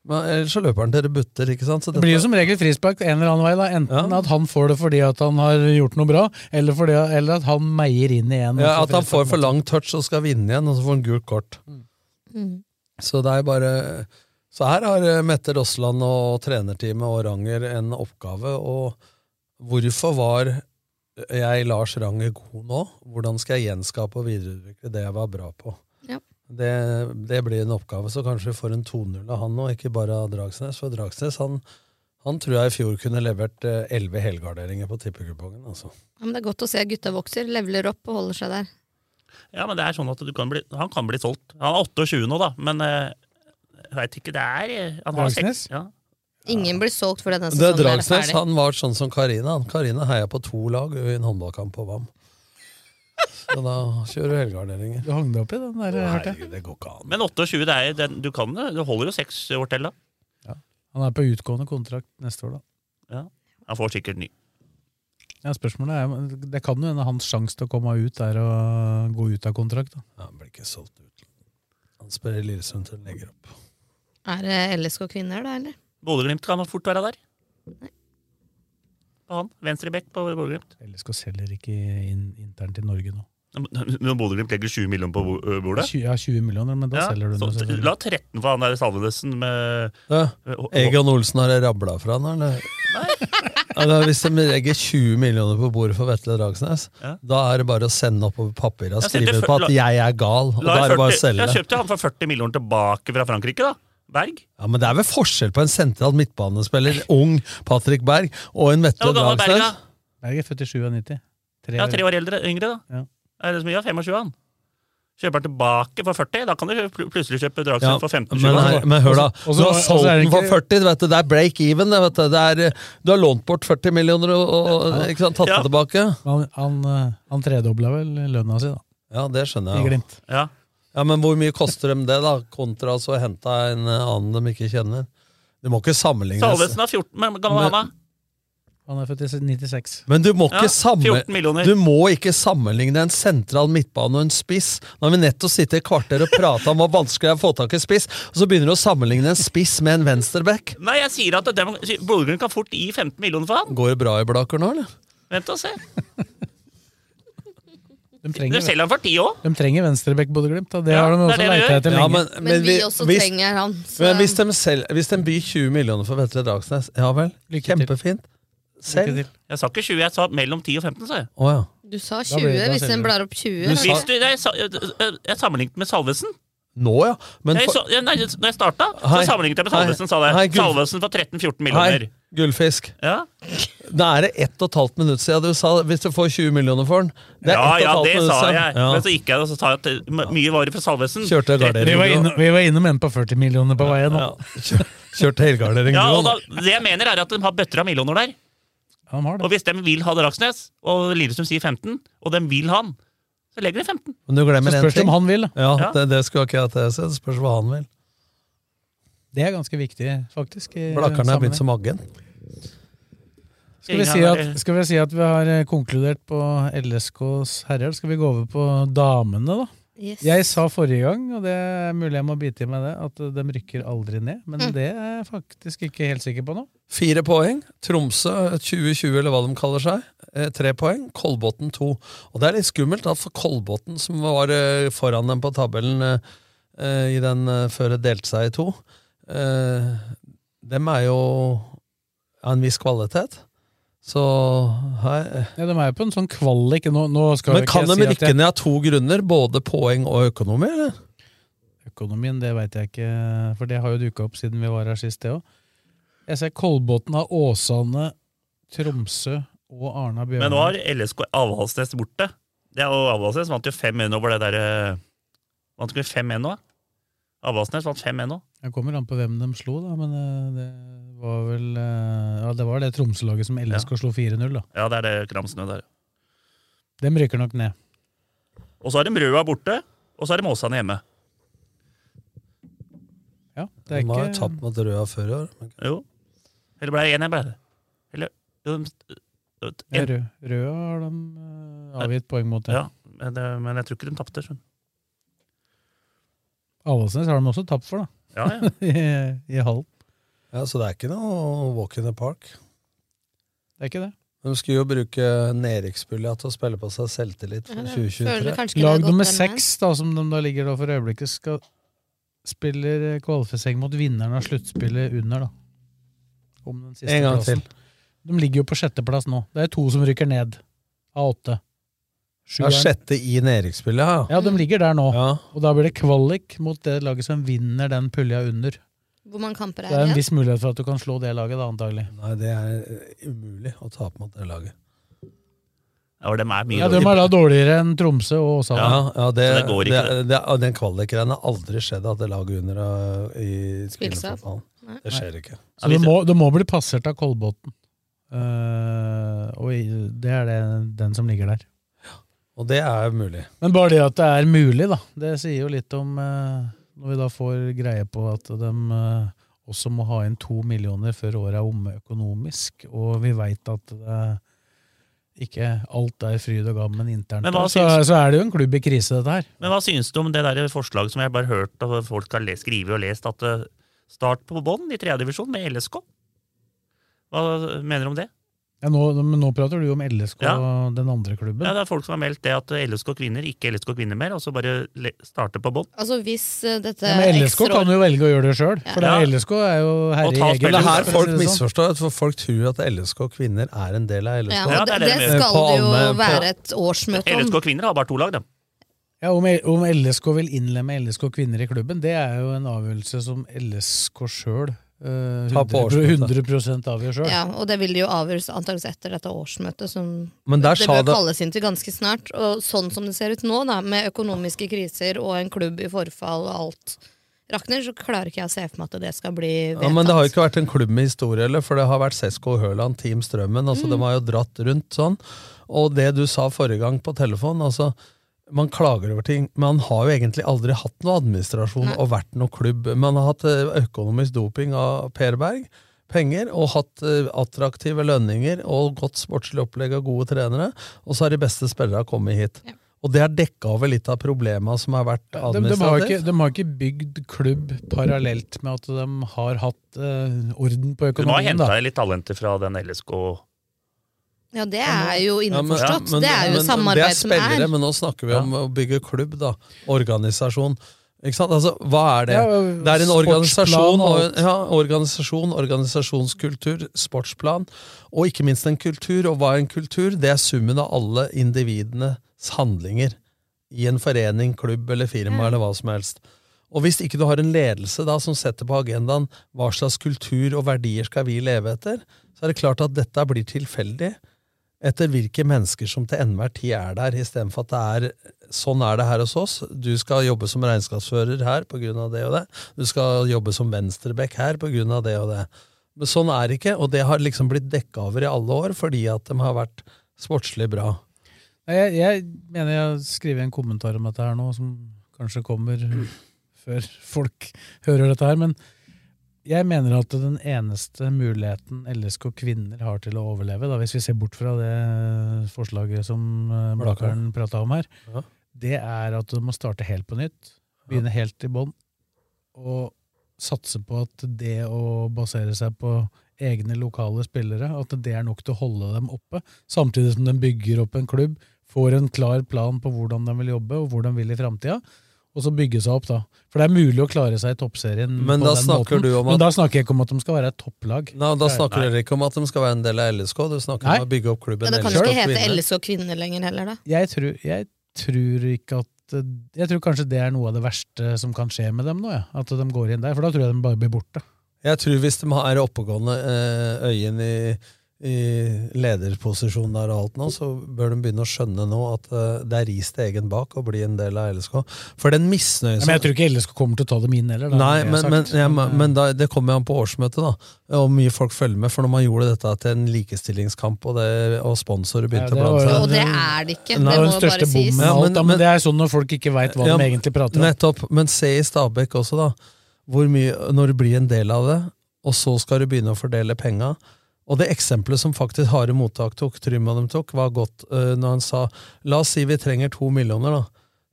Men ellers så løper han til det butter. ikke sant? Så Det blir jo som regel frispark en eller annen vei. da. Enten at han får det fordi at han har gjort noe bra, eller, fordi, eller at han meier inn igjen. altså, ja, At han får for lang touch og skal vinne igjen, og så får han gult kort. Mm. Så det er bare... Så her har eh, Mette Rosland og trenerteamet og Ranger en oppgave. Og hvorfor var jeg Lars Ranger god nå? Hvordan skal jeg gjenskape og videreutvikle det jeg var bra på? Ja. Det, det blir en oppgave, så kanskje vi får en 2-0 av han nå, ikke bare av Dragsnes. For Dragsnes han, han tror jeg i fjor kunne levert eh, 11 helgarderinger på tippekupongen. altså. Ja, men det er godt å se at gutta vokser, leveler opp og holder seg der. Ja, men det er sånn at du kan bli, Han kan bli solgt. Han er 28 nå, da, men eh, jeg veit ikke Det er eh, han har seks, Dragsnes? ja. Ingen blir solgt før denne Det Altså, sånn er sesongen er Dragsnes ferdig. han var sånn som Karina. Han- Karina heia på to lag i en håndballkamp på VAM. Så da kjører du helgarderinger. Du hang deg opp i den der, jeg hørte. Herregud, det går ikke an. Men 28, det er, den- du kan det. Det holder jo seks år til, da. Han er på utgående kontrakt neste år, da. Ja. Han får sikkert ny. Ja, spørsmålet er, Det kan jo hende hans sjanse til å komme ut er å gå ut av kontrakt. da. Ja, han blir ikke solgt ut. Han spør i Lillesund til han legger opp. Er det LSK kvinner, da, eller? Bodø-Glimt kan fort være der. På han. Venstrebekk på Bodø-Glimt. LSK selger ikke inn internt i Norge nå. Når Bodø-Glimt legger 20 millioner på bo- ø, bordet? Tjue- Ja, 20 millioner, men da Ja, selger du så den. jo selvfølgelig. La 13 for han der Salvesen med Ja. med- og- og- Egon Olsen har jeg rabla fra han, eller? Ja, da, hvis de legger 20 millioner på bordet for Vetle Dragsnes, Ja. da er det bare å sende oppover papirer og Ja, send det skrive ut før- på la- at 'jeg er gal', og La da er det bare å 40 selge. Jeg kjøpte han for 40 millioner tilbake fra Frankrike, da. Berg. Ja, Men det er vel forskjell på en sentral midtbanespiller, ung Patrick Berg, og en Ja, Vetle hvor gammel er Berg, da? Dragsnes? Berg er født i 97. Tre Ja, år. tre år eldre, yngre, da. Ja. Er det så mye? Ja, 25, han. Kjøper han tilbake for 40, da kan du kjøpe- pl- plutselig kjøpe Dragsnes Ja, for 15 men, her, men hør da, Også- du har også- solgt også er det den for ikke- 40, vet du, det er break even. det, Vet du. Det er, eh, du har lånt bort 40 millioner og, og ikke sant, tatt Ja. det tilbake. Han, han, eh, han tredobla vel lønna si, da. Ja, det skjønner I jeg. Glimt. Ja. Ja, Men hvor mye koster dem det, da? Kontra altså å hente en eh, annen de ikke kjenner. Du må ikke sammenlignes. Salvesen er 14, men hvor gammel er han da? Han er født i 96. Men du må Ja, ikke, sammen, 14 millioner. du må ikke sammenligne en sentral midtbane og en spiss. Nå har vi nettopp sittet i kvarter og prata om hvor vanskelig det er å få tak i spiss, og så begynner du å sammenligne en spiss med en venstreback. Nei, jeg sier at dem- Bodø-Glimt kan fort gi 15 millioner for han. Går det bra i Blaker nå, eller? Vent og se. De De trenger, selger han for 10 òg. de trenger venstrebekk, Bodø-Glimt. da. Det Ja, har de det er det også de leita gjør. etter lenge. Ja, men, Men vi, vi- også hvis- trenger han. Så Men hvis de, selv, hvis de byr 20 millioner for Vetle Dragsnes, ja vel? Lykke til. Kjempefint. Lykke Selv? til. Jeg sa ikke 20, jeg sa mellom 10 og 15. sa jeg. Å ja. du sa Da 20, blir det- da hvis selger en du. blar opp Du 20. da. sa- Hvis du, jeg, sa- jeg, jeg sammenlignet med Salvesen. Nå, ja. Men Jeg, for, så, jeg, nei, når jeg starta, så Hei. sammenlignet jeg med Hei. Salvesen. sa Hei, jeg. Gud. Salvesen for 13-14 millioner. hei, gullfisk. Ja, Da er det ett og et halvt minutt siden du sa hvis du får 20 millioner for den. Det er ja, ett ja og et halvt det minutt sa siden. jeg. Ja. Men så gikk jeg og så sa jeg at eh, m- mye varer fra Salvesen. Kjørte Vi var, helgardering. inne, vi var innom en på 40 millioner på veien. Ja. Kjør- Kjørte helgardering, Ja, og du da, òg. Det jeg mener, er at de har bøtter av millioner der. Han har Og det. hvis de vil ha Dragsnes, og Lillestrøm sier 15, og de vil han, så legger de 15. Men du Så glemmer én spørs det ting. om han vil. da. Ja, Ja. det, det skulle ikke jeg til å si. Det spørs hva han vil. Det er ganske viktig, faktisk. i Blakkerne er sammenheng. begynt som agent. Skal vi, si at, skal vi si at vi har eh, konkludert på LSKs herrer? Skal vi gå over på damene, da? Yes. Jeg sa forrige gang, og det er mulig jeg må bite i meg det, at de rykker aldri ned. Men det er jeg faktisk ikke helt sikker på nå. Fire poeng. Tromsø 2020, eller hva de kaller seg. eh, Tre poeng. Kolbotn to. Og det er litt skummelt, da, for Kolbotn, som var eh, foran dem på tabellen eh, eh, i den eh, før det delte seg i to, eh, dem er jo av en viss kvalitet. Så her Ja, de er jo på en sånn kvalik. Nå, nå skal Men jo kan ikke de jeg si rykke at jeg, ned av to grunner? Både poeng og økonomi, eller? økonomien, det veit jeg ikke, for det har jo duka opp siden vi var her sist, det òg. Jeg ser Kolbotn har Åsane, Tromsø og Arna Men nå Bjørnar. har LSK Avaldsnes borte. Det er jo Avaldsnes vant jo 5-1 over det der eh, Vant ikke vi 5-1 nå? Avaldsnes vant 5-1 nå. Jeg kommer an på hvem de slo, da, men eh, det var vel eh, Ja, det var det Tromsø-laget som LSK slo 4-0, da. Ja, det er det Kramsnø der. Dem rykker nok ned. Og så er de Røa borte, og så er de Åsane hjemme. Ja, det er ikke... har jeg tapt mot Røa før i år. men- Jo. Eller ble det én, jeg ble det? Eller jo, de- jo, Ja, en- Rø- Røa har de eh, avgitt poeng mot. Ja, men det- men jeg tror ikke de tapte. skjønner du. Avaldsnes har de også tapt for, da. Ja, ja. I, I halv. Ja, Så det er ikke noe walk in the park. Det er ikke det. De skulle jo bruke nedrykksspillet til å spille på seg selvtillit for Ja, det 2023. Lag nummer seks, da, som de da ligger da for øyeblikket, skal spiller eh, kvalifisering mot vinneren av sluttspillet under, da. Om den siste En gang plassen. til. De ligger jo på sjetteplass nå. Det er to som rykker ned av åtte. Ja, Sjueren. sjette i nedrykksspillet, ja. Ja, de ligger der nå. Og da blir det kvalik mot det laget som vinner den pulja under. Hvor mange kamper Det er er en det? viss mulighet for at du kan slå det laget, da, antagelig. Nei, det er eh, umulig å tape mot det laget. Ja, de er mye Ja, De er da dårligere enn Tromsø og Åsane. Ja, ja det, Så det det går ikke, det, og den kvalikgreien har aldri skjedd at det laget under eh, i Spilsav? kvinnefotballen. Nei. Det skjer ikke. Så det må, det må bli passert av Kolbotn. Eh, og i- det er det, den som ligger der. Og det er mulig. Men bare det at det er mulig, da. Det sier jo litt om eh, Når vi da får greie på at de eh, også må ha inn to millioner før året er omme økonomisk, og vi veit at det ikke alt er fryd og gammen internt, Men hva så, syns- så er det jo en klubb i krise, dette her. Men hva synes du om det der forslaget som jeg bare hørt og folk har lest, skrivet og lest, at eh, start på bånn i tredje divisjon med LSK? Hva mener du om det? Ja, nå, men nå prater du jo om LSK, Ja. den andre klubben. Ja, det er folk som har meldt det at LSK kvinner, ikke LSK kvinner mer, og så bare le- starte på bånn. Altså hvis eh, dette Ja, men LSK ekstra- kan jo velge å gjøre det sjøl, for det Ja. er LSK er jo herre i ta egen spillet. Men det er her for å si folk det sånn. misforstår, for folk tror at LSK kvinner er en del av LSK. ja, og det, det skal På det jo alle- på- være et årsmøte om. LSK sånn- kvinner har bare to lag, da. Ja, om, om LSK vil innlemme LSK kvinner i klubben, det er jo en avgjørelse som LSK sjøl eh, Ta på 100, årsmøtet. 100 avgjør sjøl. Ja, og det vil jo avgjøres antakeligvis etter dette årsmøtet, som Men der det sa bør det- kalles inn til ganske snart. Og sånn som det ser ut nå, da, med økonomiske kriser og en klubb i forfall og alt rakner, så klarer ikke jeg å se for meg at det skal bli vedtatt. Ja, men det har jo ikke vært en klubb med historie, eller, for det har vært Sesko Høland, Team Strømmen. altså De har jo dratt rundt sånn. Og det du sa forrige gang på telefon altså, Man klager over ting, men man har jo egentlig aldri hatt noe administrasjon Nei. og vært noe klubb. Man har hatt eh, økonomisk doping av Per Berg, penger, og hatt eh, attraktive lønninger og godt sportslig opplegg av gode trenere. Og så har de beste spillerne kommet hit. Og det har dekka over litt av problema som har vært De, de, har jo ikke, administrativt. de har ikke bygd klubb parallelt med at de har hatt eh, orden Du på må ha økonomien. henta da. litt talenter fra den LSK Ja, det er jo Ja, men- innforstått. ja, men- det er jo men samarbeid det er spillere, som er. Men nå snakker vi om å bygge klubb, da. Organisasjon. Ikke sant? Altså, hva er det? Ja, det er en sportsplan organisasjon, og og, alt. ja, organisasjon, organisasjonskultur, sportsplan, og ikke minst en kultur. Og hva er en kultur? Det er summen av alle individenes handlinger i en forening, klubb eller firma eller hva som helst. Og hvis ikke du har en ledelse da som setter på agendaen hva slags kultur og verdier skal vi leve etter, så er det klart at dette blir tilfeldig etter hvilke mennesker som til enhver tid er der, istedenfor at det er sånn er det her hos oss. Du skal jobbe som regnskapsfører her pga. det og det. Du skal jobbe som venstreback her pga. det og det. Men sånn er det ikke, og det har liksom blitt dekka over i alle år fordi at de har vært sportslig bra. Nei, Jeg, jeg mener jeg har skrevet en kommentar om dette her nå, som kanskje kommer før folk hører dette her, men jeg mener at den eneste muligheten LSK kvinner har til å overleve, da, hvis vi ser bort fra det forslaget som eh, Blakkaren prata om her, Ja. det er at du må starte helt på nytt. Begynne helt i bånn. Og satse på at det å basere seg på egne lokale spillere, at det er nok til å holde dem oppe. Samtidig som de bygger opp en klubb, får en klar plan på hvordan de vil jobbe, og hvor de vil i framtida. Og så bygge seg opp, da. For det er mulig å klare seg i toppserien. Men på da den snakker måten. du om at- Men da snakker jeg ikke om at de skal være et topplag. Nei, da snakker Nei. dere ikke om at de skal være en del av LSK, du snakker Nei. om å bygge opp klubben Ja, det kan jo LSK ikke hete kvinner. LSK kvinner lenger heller, da. Jeg tror, jeg tror ikke at Jeg tror kanskje det er noe av det verste som kan skje med dem nå, ja. at de går inn der. For da tror jeg de bare blir borte. Jeg tror hvis de er oppegående eh, øyen i, i lederposisjon der og alt nå, så bør de begynne å skjønne nå at eh, det er ris til egen bak å bli en del av LSK. For den misnøyen Ja, som men jeg tror ikke LSK kommer til å ta dem inn heller. da, Nei, det eh, men, jeg har men, sagt. ja, men men da, det kommer jo an på årsmøtet, da. Hvor mye folk følger med. For når man gjorde dette til en likestillingskamp, og, det, og sponsorer begynte Ja, det å blande var seg jo- Og det er det ikke. Det Det er jo må den største bare sies. bommen av alt, da, men det er sånn når folk ikke veit hva Ja, de egentlig prater om. Nettopp. Men se i Stabæk også, da. Hvor mye, når du blir en del av det, og så skal du begynne å fordele penga. Og det eksempelet som faktisk Hare Mottak tok, Trym og dem tok, var godt øh, når han sa La oss si vi trenger to millioner da,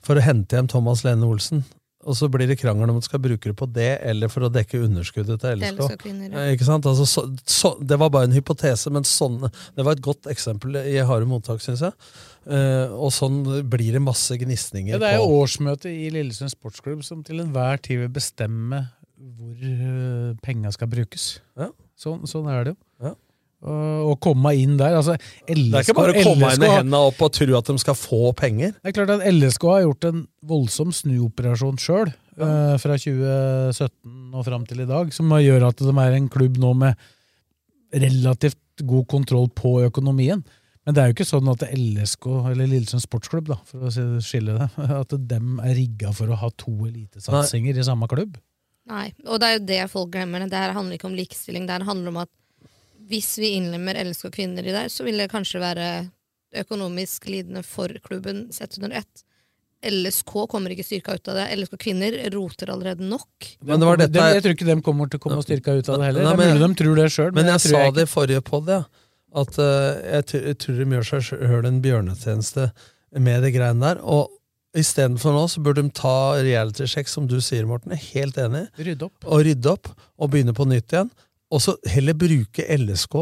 for å hente hjem Thomas Lene Olsen. Og så blir det krangel om man skal bruke det på det, eller for å dekke underskuddet til Til LSK. LSK-kvinner, ja. Eh, Ikke sant? Altså, så, så, det var bare en hypotese, men sånne, det var et godt eksempel i Hare Mottak, syns jeg. Eh, og sånn blir det masse gnisninger. Ja, det er på- jo årsmøtet i Lillesund sportsklubb som til enhver tid vil bestemme hvor øh, penga skal brukes. Sånn, sånn er det jo. Og- og komme inn der altså, LSK, Det er ikke bare å komme inn med har- hendene opp og tro at de skal få penger. Det er klart at LSK har gjort en voldsom snuoperasjon sjøl, eh, fra 2017 og fram til i dag, som gjør at de er en klubb nå med relativt god kontroll på økonomien. Men det er jo ikke sånn at LSK, eller Lillesund sportsklubb, da, for å si- skille det, at dem er rigga for å ha to elitesatsinger i samme klubb. Nei, og det er jo det folk glemmer. Det her handler ikke om likestilling. Det her handler om at hvis vi innlemmer LSK kvinner i der, så vil det kanskje være økonomisk lidende for klubben sett under ett. LSK kommer ikke styrka ut av det. LSK kvinner roter allerede nok. Men det var dette- Dem- jeg tror ikke de kommer til å komme styrka ut av det heller. Nei, det er mulig de tror det sjøl, Men jeg, tror sa jeg ikke. det i forrige podd, ja, at eh, jeg, tr- jeg tror de gjør seg sjøl en bjørnetjeneste med det greiene der. Og istedenfor nå så burde de ta realitysjekk, som du sier, Morten. Jeg er helt enig. Rydde opp. Og rydde opp, og begynne på nytt igjen. Og så heller bruke LSK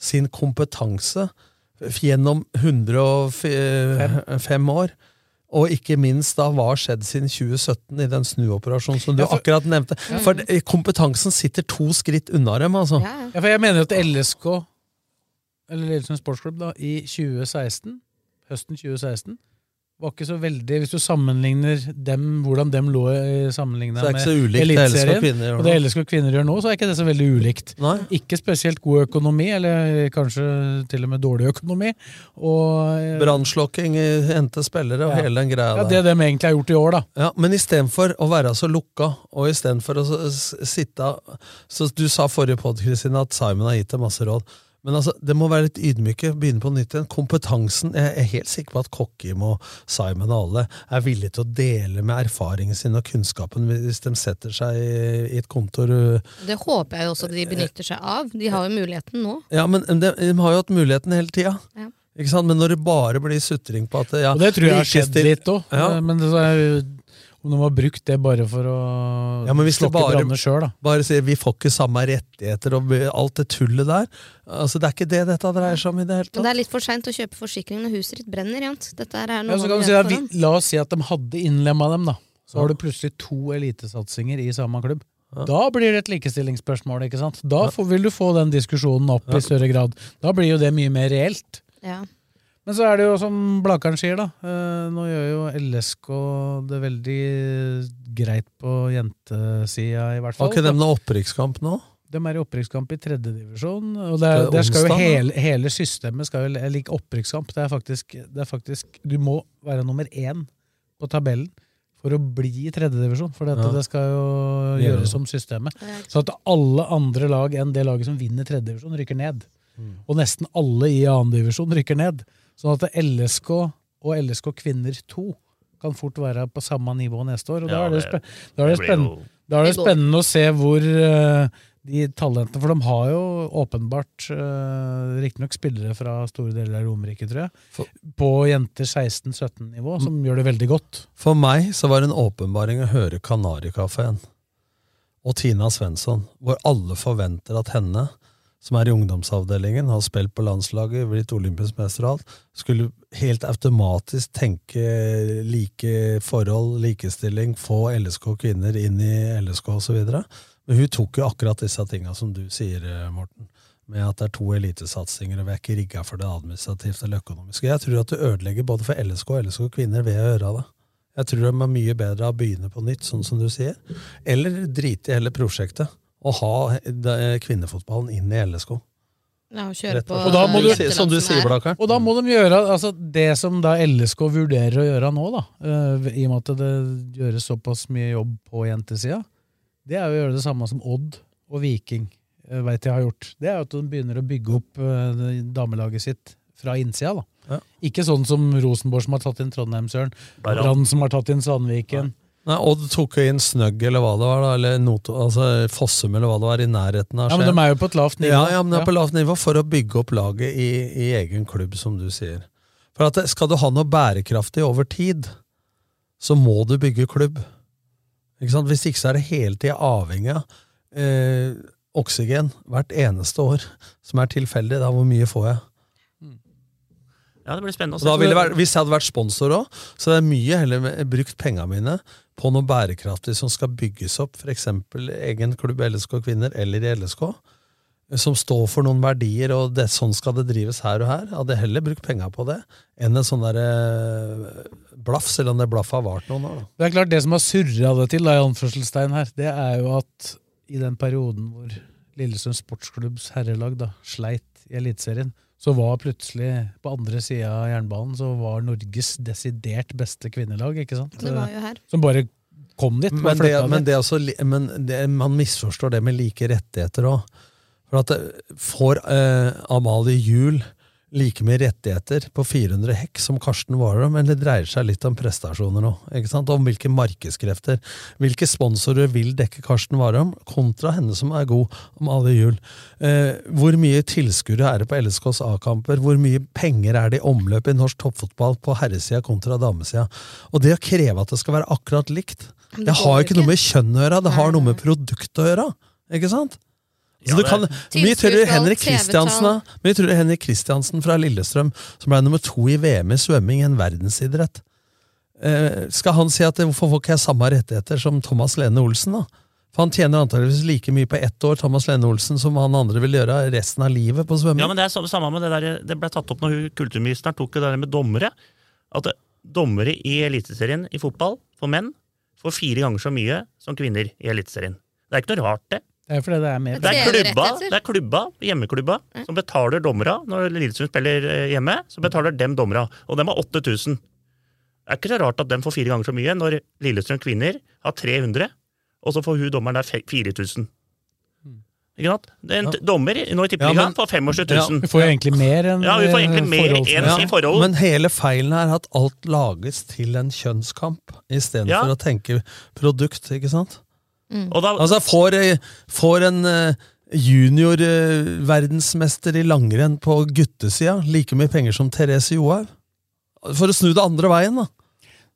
sin kompetanse f- gjennom 105 eh, år. Og ikke minst da hva har skjedd siden 2017 i den snuoperasjonen som du Ja, for- akkurat nevnte. Ja. For det- kompetansen sitter to skritt unna dem, altså. Ja, for jeg mener jo at LSK, eller Lillesund Sportsklubb, da, i 2016, høsten 2016, var ikke så veldig Hvis du sammenligner dem, hvordan dem lå sammenligna Så det er med ikke så ulikt det LSK kvinner gjør og det nå. LSK kvinner gjør nå, så er ikke det så veldig ulikt. Ikke spesielt god økonomi, eller kanskje til og med dårlig økonomi. Og Brannslokking, eh, hente spillere og Ja. hele den greia Ja, det de egentlig har gjort i år, da. Ja, men istedenfor å være så lukka, og istedenfor å s- s- sitte Så Du sa forrige podd, Kristine, at Simon har gitt deg masse råd. Men altså, det må være litt ydmyke. Begynne på nytt igjen. Kompetansen Jeg er helt sikker på at Kokkim og Simon og alle er villige til å dele med erfaringen sin og kunnskapen hvis de setter seg i- i et kontor uh, Det håper jeg jo også de benytter seg av. De har jo muligheten nå. Ja, men de, de har jo hatt muligheten hele tida. Ja. Ikke sant? Men når det bare blir sutring på at ja, Og det tror jeg har skjedd likestil- litt òg. Ja. Men det er jo om de har brukt det bare for å Ja, men hvis det slokke bare, brannene sjøl, da. bare sier vi får ikke samme rettigheter og alt det tullet der Altså Det er ikke det dette dreier seg om i det hele Men tatt. det er litt for seint å kjøpe forsikring når huset ditt brenner. Jant. Dette her er Ja, noe så kan man du si vet at forhånd. vi, la oss si at de hadde innlemma dem, da. Så har du plutselig to elitesatsinger i samme klubb. Da blir det et likestillingsspørsmål. ikke sant? Da får, vil du få den diskusjonen opp i større grad. Da blir jo det mye mer reelt. Ja. Men så er det jo som Blakeren sier, da. eh, Nå gjør jo LSK det veldig greit på jentesida, i hvert fall. Har ikke dem noe opprykkskamp nå? De er i opprykkskamp i tredjedivisjon. Og det Det er, er der skal jo onsdag, da. hele, hele systemet skal jo like opprykkskamp. Det er, faktisk, det er faktisk Du må være nummer én på tabellen for å bli i tredjedivisjon. For dette, Ja. det skal jo Det gjør det. gjøres om systemet. Så at alle andre lag enn det laget som vinner tredjedivisjon, rykker ned. Mm. Og nesten alle i annendivisjon rykker ned. Sånn at LSK og LSK kvinner 2 kan fort være på samme nivå neste år. Og da Ja, er det, det- spen da er det det, blir spenn jo- da er det Det går. spennende å se hvor eh, de talentene For de har jo åpenbart uh, riktignok spillere fra store deler av Romerike, tror jeg, på jenter 16-17-nivå, som gjør det veldig godt. For meg så var det en åpenbaring å høre Kanarikafeen og Tina Svensson, hvor alle forventer at henne, som er i ungdomsavdelingen, har spilt på landslaget, blitt olympisk mester og alt, skulle helt automatisk tenke like forhold, likestilling, få LSK kvinner inn i LSK osv. Men hun tok jo akkurat disse tinga som du sier, eh, Morten. Med at det er to elitesatsinger, og vi er ikke rigga for det administrativt eller økonomiske. Jeg tror at du ødelegger både for LSK og LSK kvinner ved å gjøre det. Jeg tror de er mye bedre av å begynne på nytt, sånn som du sier. Eller drite i hele prosjektet og ha eh, kvinnefotballen inn i LSK. Ja, og kjøre Rett på og slett. Og da må du- hjelpeland som du som sier, er. Blakkaren. Og da må de gjøre altså, det som da LSK vurderer å gjøre nå, da, eh, i og med at det gjøres såpass mye jobb på jentesida, det er jo å gjøre det samme som Odd og Viking eh, vet jeg har gjort. Det er jo at de begynner å bygge opp eh, det- damelaget sitt fra innsida. da. Ikke sånn som Rosenborg som har tatt inn Trondheimsøren, Brann. Brann som har tatt inn Sandviken. Nei, Odd tok jo inn Snøgg eller hva det var, da, eller Not altså Fossum eller hva det var, i nærheten av Ja, men Skien. de er jo på et lavt nivå. Ja, ja, men det Ja. er på lavt nivå for å bygge opp laget i, i egen klubb, som du sier. For at det- skal du ha noe bærekraftig over tid, så må du bygge klubb. Ikke sant? Hvis ikke så er det hele tida avhengig av eh, oksygen hvert eneste år, som er tilfeldig. Da, hvor mye får jeg? Ja, det blir spennende å Og se. da ville det vært, hvis jeg hadde vært sponsor òg, så hadde jeg mye heller med- brukt pengene mine på noe bærekraftig som skal bygges opp, f.eks. egen klubb i LSK Kvinner eller i LSK, som står for noen verdier, og det, sånn skal det drives her og her. Hadde jeg heller brukt penga på det enn en sånn eh, derre blaff, selv om det blaffet har vart noen år. da. Det er klart det som har surra det til, da, i anførselstegn her, det er jo at i den perioden hvor Lillesund Sportsklubbs herrelag da, sleit i Eliteserien, så var plutselig på andre sida av jernbanen så var Norges desidert beste kvinnelag. ikke sant? Det var jo her. Som bare kom dit. bare Men, det, flytta men, dit. det er også, li- men det, man misforstår det med like rettigheter òg. For at eh, får eh, Amalie Juel like mye rettigheter på 400 hekk som Karsten Warholm, men det dreier seg litt om prestasjoner òg. ikke sant? Om hvilke markedskrefter. Hvilke sponsorer vil dekke Karsten Warholm, kontra henne som er god, Amalie Juel. Eh, hvor mye tilskuere er det på LSKs A-kamper? Hvor mye penger er det i omløp i norsk toppfotball på herresida kontra damesida? Og det å kreve at det skal være akkurat likt, Men det det har går jo ikke noe med kjønn å gjøre, det har noe med produktet å gjøre. Ikke sant? Så Ja, du det- kan, mye tror Tilskuertall, Henrik TV-tall. Kristiansen da? Mye tror Henrik Kristiansen fra Lillestrøm, som ble nummer to i VM i svømming, en verdensidrett. Eh, skal han si at eh, hvorfor får ikke jeg samme rettigheter som Thomas Lene Olsen, da? For han tjener antageligvis like mye på ett år Thomas Lene Olsen som han andre vil gjøre resten av livet på svømming. Ja, men Det er samme, samme med det der, det ble tatt opp når hun- kulturministeren tok det der med dommere. At eh, dommere i Eliteserien i fotball for menn får fire ganger så mye som kvinner i Eliteserien. Det er ikke noe rart, det. Det er fordi det er mer Det er klubba, det er klubba hjemmeklubba, som betaler dommera når Lillesund spiller eh, hjemme. så betaler dem dommera, Og dem har 8000. Det er ikke så rart at dem får fire ganger så mye når Lillestrøm kvinner har 300, og så får hun dommeren der fe- 4000. Ikke sant? Det er En t- dommer nå i Ja, men- tippeligaen får 25 000. Vi får jo egentlig mer enn eh, Ja, vi får egentlig mer forholdsmessig. enn i forhold. Men hele feilen er at alt lages til en kjønnskamp, istedenfor Ja. for å tenke produkt, ikke sant? Og da- altså, får, eh, får en eh, junior eh, verdensmester i langrenn på guttesida like mye penger som Therese Johaug? For å snu det andre veien, da.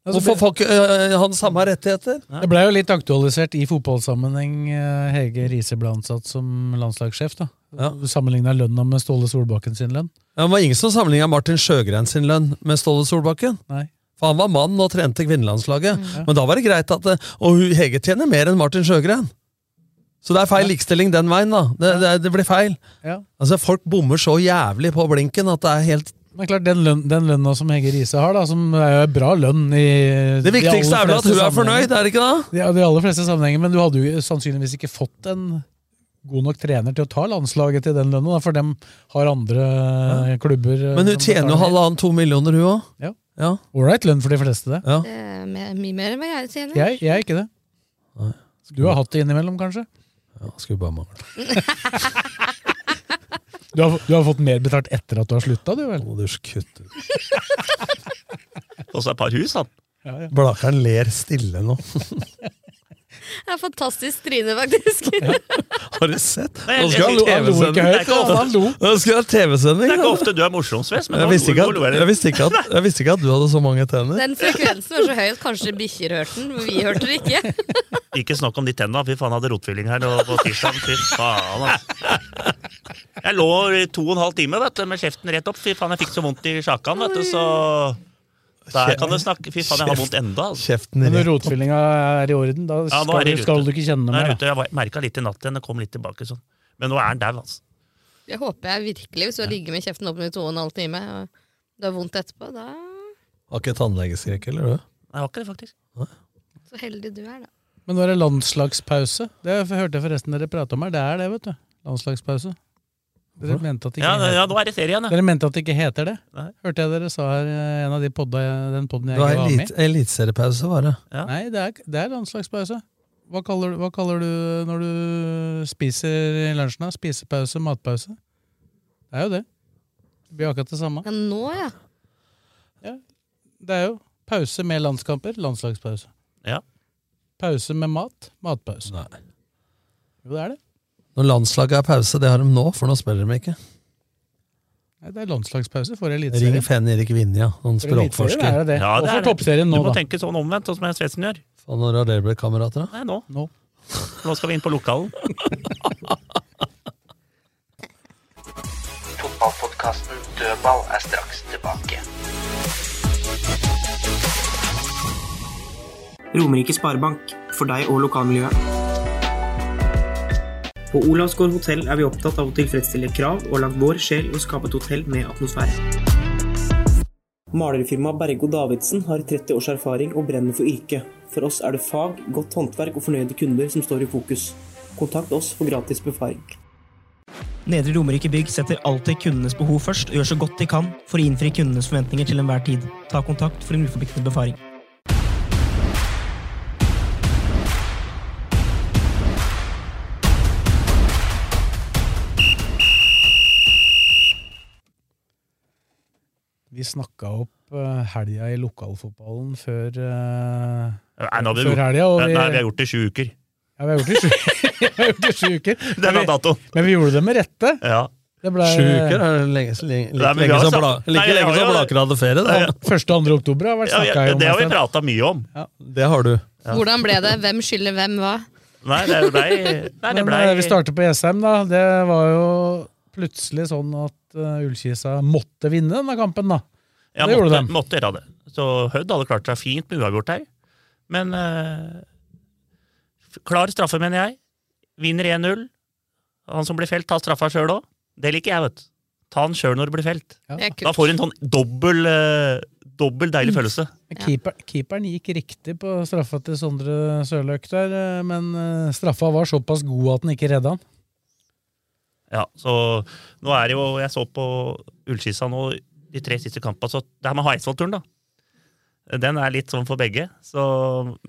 Altså, Hvorfor får ikke eh, han samme rettigheter? Det ble jo litt aktualisert i fotballsammenheng. eh, Hege Riise ble ansatt som landslagssjef. da. Sammenligna lønna med Ståle Solbakken sin lønn. Ja, Det var ingen som sammenligna Martin Sjøgren sin lønn med Ståle Solbakken. Nei. For han var mann og trente kvinnelandslaget. Men da var det greit at eh, Og hun- Hege tjener mer enn Martin Sjøgren. Så det er feil likestilling den veien, da. Det, det, det blir feil. Ja. Altså, Folk bommer så jævlig på blinken at det er helt Men klart, den, lønn, den lønna som Hege Riise har, da, som er jo en bra lønn i Det viktigste er vel at hun er fornøyd, er det ikke det? Ja, de aller fleste sammenhenger, men du hadde jo sannsynligvis ikke fått en god nok trener til å ta landslaget til den lønna, da, for dem har andre eh, klubber eh, Men hun som tjener jo betaler mer. halvannen to millioner, hun òg. Ja. Ja. Ålreit lønn for de fleste, det. Ja. Det er mer- mye mer enn hva jeg tjener. Jeg, jeg er ikke det. Du har hatt det innimellom, kanskje? Ja, skulle bare mangle. Du har, du har fått mer betalt etter at du har slutta, du vel? Å, du skutt ut. Og så et par hus, han. Blakkeren ler stille nå. Det er fantastisk tryne, faktisk. Har du sett? Nei, jeg- Nå jeg- skal jeg- han lo ikke høyt, altså, han TV-sending! lo. Nå skal han Det TV-sending! er ikke da. ofte du er morsom, Sves, men Jeg nå- visste, ikke nå lo jeg at, litt. jeg, visste ikke at, jeg visste ikke at du hadde så mange tenner. Den frekvensen var så høy at kanskje bikkjer hørte den, men vi hørte det ikke. Ikke snakk om de tenna. Fy faen, jeg hadde rotfylling her nå på tirsdag. Fy faen, altså. Jeg lå i to og en halv time vet du, med kjeften rett opp. Fy faen, jeg fikk så vondt i sjakan, vet du, så Der kan du snakke. Fy faen, jeg har vondt enda. Altså. Men når rotfyllinga er i orden, da Ja, nå skal, er det du, skal du ikke kjenne Nå er mer. jeg da. ute. Jeg merka litt i natt igjen. Det kom litt tilbake sånn. Men nå er han dau, altså. Det håper jeg virkelig, hvis du har ligget med kjeften åpen i to og en halv time, og du har vondt etterpå, da Har ikke tannlegeskrekk, eller du? Jeg har ikke det, faktisk. så heldig du er, da. Men nå er det landslagspause. Det hørte jeg forresten dere prate om her. Det er det, vet du. Landslagspause. Dere mente at det ikke Ja, heter- ja, nå er det serie igjen, ja. Dere mente at det ikke heter det. Nei. Hørte jeg dere sa her eh, en av de podda, den podden jeg Det var ikke var med elit- i? eliteseriepause, var det. Nei, det er, det er landslagspause. Hva kaller, du- hva kaller du når du spiser i lunsjen? da? Spisepause, matpause? Det er jo det. Det blir akkurat det samme. Ja, nå, ja. Det er jo pause med landskamper, landslagspause. Ja. Pause med mat, matpause. Jo, det er det. Når landslaget er pause, det har de nå, for nå spiller de ikke. Nei, det er landslagspause for Ring eliteserien. Fenn Erik Vinja, noen For eliteserien språkforsker. er det det. Ja, det Og for er det. toppserien Du nå, må da. tenke sånn omvendt, sånn som jeg Svendsen gjør. Og når har dere blitt kamerater, da? Nei, nå. Nå. For Nå skal vi inn på lokalen. Fotballpodkasten Dødball er straks tilbake. Romerike Sparebank, for deg og lokalmiljøet. På Olavsgård hotell er vi opptatt av å tilfredsstille krav og lagt vår sjel i å skape et hotell med atmosfære. Malerfirmaet Bergo Davidsen har 30 års erfaring og brenner for yrket. For oss er det fag, godt håndverk og fornøyde kunder som står i fokus. Kontakt oss for gratis befaring. Nedre Romerike Bygg setter alltid kundenes behov først og gjør så godt de kan for å innfri kundenes forventninger til enhver tid. Ta kontakt for en uforpliktende befaring. Vi snakka opp eh, helga i lokalfotballen før eh, Nei, nå har vi, Før gjort, helga, og vi- nei, vi har gjort det i sju uker. Ja, vi har gjort det i sju, vi har gjort det i sju uker. Det er Men vi- dato. Men vi gjorde det med rette. Ja. Det ble, Sju uker er det lenge, lenge, Nei, like men vi lenge har som sagt- Bla- Nei, like jeg lenge har som jo- Blaker hadde ferie, Ja, ja. da. Første og andre oktober har vært Ja, vi- snakka om. det har vi Øystein. prata mye om. Det har du. Hvordan ble det? Hvem skylder hvem hva? Nei, det blei Nei, det Men eh, vi blei starter på Jessheim, da. Det var jo plutselig sånn at eh, Ullkisa måtte vinne denne kampen, da. ja, det gjorde måtte, de. måtte gjøre det. Så Hødd hadde klart seg fint med uavgjort her. Men eh, f- klar straffe, mener jeg. Vinner 1-0. Han som blir felt, tar straffa sjøl òg. Det liker jeg, vet du. Ta den sjøl når du blir felt. Det er kult. Da får du en sånn dobbel, eh, dobbel deilig følelse. Men Keeper, keeperen gikk riktig på straffa til Sondre Sørløk der, eh, men eh, straffa var såpass god at den ikke redda han. Ja, så nå er det jo Jeg så på Ullskissa nå de tre siste kampene, så det her med Eidsvoll-turen, da. Den er litt sånn for begge, så,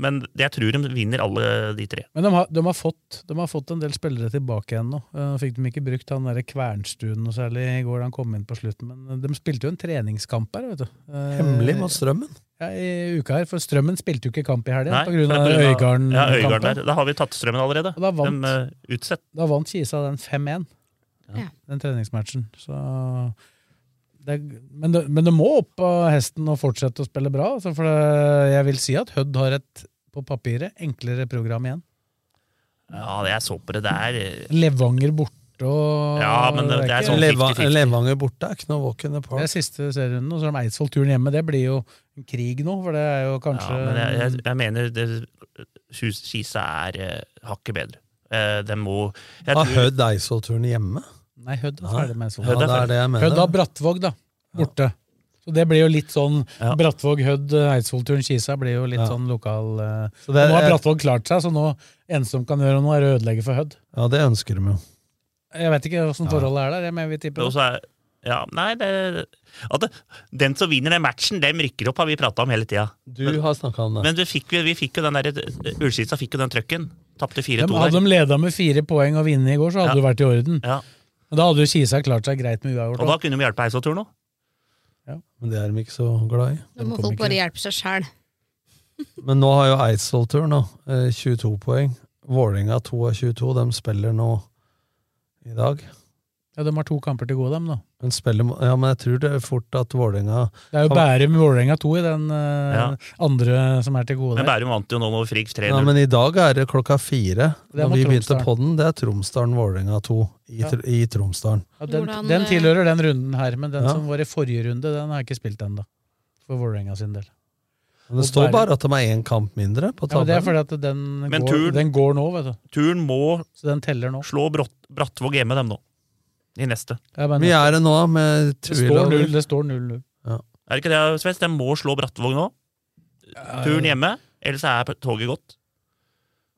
men jeg tror de vinner alle de tre. Men de har, de, har fått, de har fått en del spillere tilbake igjen nå. Eh, Fikk de ikke brukt han derre Kvernstuen noe særlig i går da han kom inn på slutten, men eh, de spilte jo en treningskamp her, vet du. Eh, Hemmelig mot Strømmen. Ja, i uka her, for Strømmen spilte jo ikke kamp i helga Nei, pga. for- Øygarden. Ja, Øygarden der. Da har vi tatt strømmen allerede. Og da vant. De, eh, utsatt. Da vant Kisa den 5-1, Ja. den treningsmatchen. Så det, er- men, det, men det må opp av hesten og fortsette å spille bra. Altså for det, jeg vil si at Hødd har et, på papiret, enklere program igjen. Ja, det jeg så på det der eh, Levanger borte og Ja, men det- det er ikke- sånn Leva- 50-50. Levanger borte er ikke noe walk in the Det er park. siste serierunden, og så har de Eidsvoll-turen hjemme. Det blir jo en krig nå, for det er jo kanskje ja, men jeg, jeg, jeg mener det, Kis- Kisa er eh, hakket bedre. Eh, de må jeg Har tror- Hødd Eidsvoll-turen hjemme? Nei, Hødd er Nei. ferdig med Eidsvoll. Ja, det er det jeg mener. Hødd har Brattvåg, da. Borte. Så det blir jo litt sånn Ja. Brattvåg, Hødd, Eidsvollturen, Kisa blir jo litt Ja. sånn lokal eh, Så det er- Nå har Brattvåg klart seg, så nå eneste som kan gjøre noe, er å ødelegge for Hødd. Ja, det ønsker de jo. Jeg vet ikke åssen forholdet er der, jeg, men vi tipper Og så er, ja, nei, det, at det, den som vinner den matchen, dem rykker opp, har vi prata om hele tida. Du har snakka om det. Men du fikk, jo- vi fikk jo den der, Ullskisa fikk jo den trøkken. Tapte 4-2 De, hadde der. de leda med fire poeng og vunnet i går, så hadde Ja. det vært i orden. Ja. Men da hadde jo Kisa klart seg greit med uavgjort. Og da også. kunne vi hjelpe Eidsvoll-turen òg. Men det er de ikke så glad i. Da må kom folk ikke. bare hjelpe seg sjæl. Men nå har jo Eidsvoll-turen da, eh, 22 poeng. Vålerenga 2 av 22. De spiller nå i dag. Ja, de har to kamper til gode, dem, da. De spiller, mo- ja, men jeg tror det er fort at Vålerenga Det er jo Han- Bærum Vålerenga 2 i den eh, Ja. andre som er til gode. Men der. Bærum vant jo nå over Frigg 3-0. Ja, men i dag er det klokka fire. Det er Når mot vi begynte Tromsdalen. på den, det er Tromsdalen-Vålerenga 2 i, Ja. Tr- i Tromsdalen. Ja, den, Hvordan, den eh, tilhører den runden her, men den Ja. som var i forrige runde, den har jeg ikke spilt ennå. For Vålerenga sin del. Men det Og står Bærum. bare at de er én kamp mindre på Ja, men det er tabellen. fordi at den Men går, turen- den går nå, vet du. Turen må Så den teller nå. slå Brått, Brattvåg hjemme, dem nå. I neste. Ja, men, Vi er det nå, med det står null, Tuil det står null. null. Er det ikke det, Svets? De må slå Brattvåg nå. Turen hjemme, ellers er toget gått.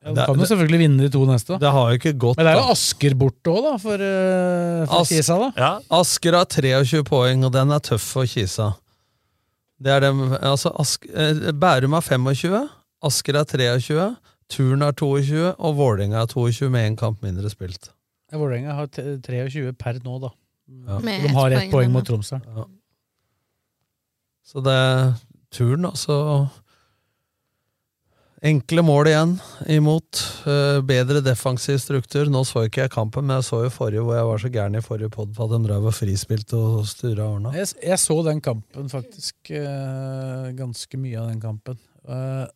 Ja, du kan jo selvfølgelig vinne de to neste. Det har jo ikke gått Men det er jo da. Asker borte òg, da, for, eh, for Ask- Kisa. da. Asker har 23 poeng, og den er tøff for Kisa. Det er dem, altså Ask, eh, Bærum har 25, Asker har 23, Turn har 22, og Vålerenga har 22 med én kamp mindre spilt. Ja, Vålerenga har t- 23 per nå, da. Ja. Med De ett har poeng ett poeng nå. mot Tromsø. Så det er Turn, altså Enkle mål igjen imot. Eh, bedre defensiv struktur. Nå så ikke jeg kampen, men jeg så jo forrige hvor jeg var så gæren i forrige pod på at de drev og frispilte og stura og ordna. Jeg, s- jeg så den kampen faktisk eh, ganske mye av den kampen. Eh,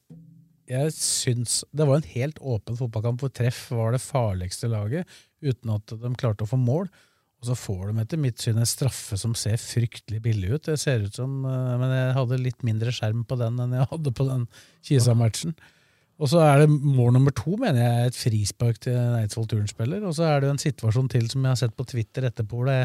jeg syns Det var en helt åpen fotballkamp hvor treff var det farligste laget, uten at de klarte å få mål. Og så får de etter mitt syn en straffe som ser fryktelig billig ut. Det ser ut som, eh, Men jeg hadde litt mindre skjerm på den enn jeg hadde på den Kisa-matchen. Og så er det mål nummer to, mener jeg, er et frispark til en Eidsvoll Turn-spiller. Og så er det jo en situasjon til som jeg har sett på Twitter etterpå, hvor det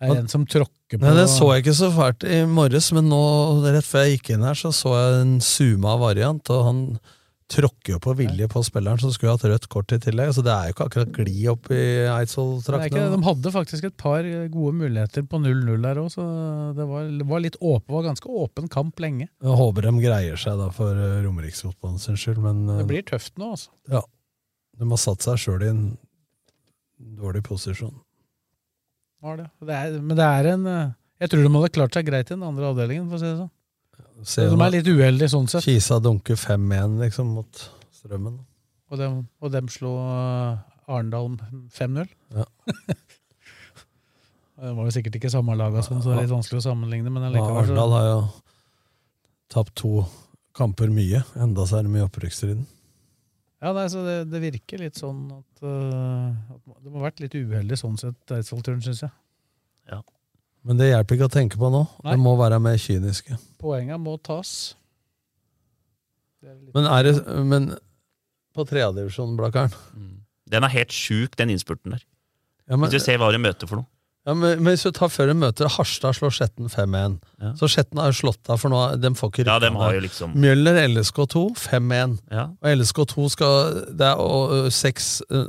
er en som tråkker på Nei, Det så jeg ikke så fælt i morges, men nå, rett før jeg gikk inn her, så så jeg en zooma variant, og han tråkker jo på vilje på spilleren som skulle hatt rødt kort i tillegg, så det er jo ikke akkurat gli opp i Det er ikke det. Eidsvoll-traktene. De hadde faktisk et par gode muligheter på 0-0 der òg, så det var, det var litt åpen, var ganske åpen kamp lenge. Jeg håper de greier seg da for eh, Romeriksfotballen sin skyld, men eh, Det blir tøft nå, altså. ja, de har satt seg sjøl i en dårlig posisjon. Var det. Det er, men det er en eh, Jeg tror de hadde klart seg greit i den andre avdelingen, for å si det sånn. Se de nå. er litt uheldige sånn sett. Kisa dunker 5-1 liksom mot Strømmen. Og dem, og dem slo eh, Arendal 5-0. Ja. det var jo sikkert ikke samme laga, sånn, så det er litt vanskelig å sammenligne, men Ja, allikevel Arendal så har jo tapt to kamper mye, enda så er de i opprykksstriden. ja, nei, så det, det virker litt sånn at, eh, at Det må ha vært litt uheldig sånn sett, Eidsvoll-turen, syns jeg. Men det hjelper ikke å tenke på nå. Nei. Det må være mer kyniske. Poenga må tas. Men, er det, men på tredjedivisjonen, Blakkaren Den er helt sjuk, den innspurten der. Ja, men- Hvis du ser hva de møter for noe. ja, men, men Hvis du tar før de møter Harstad, slår Skjetten 5-1. Så Skjetten har jo slått av, for nå, de får ikke Ja, rykka dem har ned. jo liksom- Mjøller LSK2 5-1. Ja. Og LSK2 skal Det er å- å, seks, ø,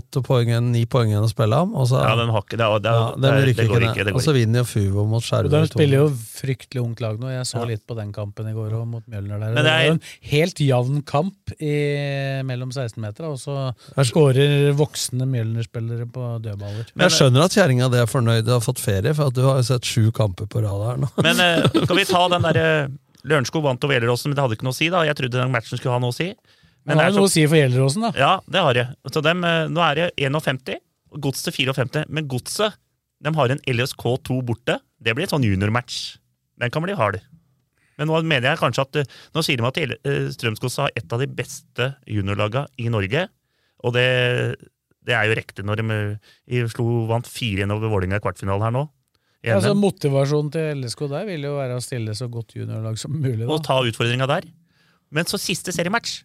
åtte poeng, igjen, ni poeng igjen å spille om. Og så, Ja, den har ikke- det er- det er- Ja, dem det er- det går rykker ned. Altså, ikke, det går Og så vinner jo Fuvo mot Og Skjervøy. de spiller jo 2-0. fryktelig ungt lag nå. Jeg så litt på den kampen i går og mot Mjølner der. Men det er- Det var en helt jevn kamp i, mellom 16-metera, og så skårer voksne Mjølner-spillere på dødballer. Men jeg skjønner at kjerringa di er fornøyd og har fått ferie, for at du har jo sett sju kamper på rad her nå. Men eh, kan vi ta den derre Lørenskog vant over Gjelleråsen, men det hadde ikke noe å si. da. Jeg trodde den matchen skulle ha noe å si. Men har jo noe å si for Gjelleråsen, da. Ja, det har det. Så dem, eh, nå er det 51, og Godset 54. Men Godset de har en LSK2 borte. Det blir en sånn juniormatch. Den kan bli hard. Men nå mener jeg kanskje at eh, Nå sier de at L- eh, Strømsgodset har et av de beste juniorlaga i Norge. Og det, det er jo riktig når de, eh, slo, vant 4-1 over Vålerenga i kvartfinalen her nå. I Ja, så NM. Altså, Motivasjonen til LSK der vil jo være å stille så godt juniorlag som mulig. og da. ta utfordringa der. Men så siste seriematch.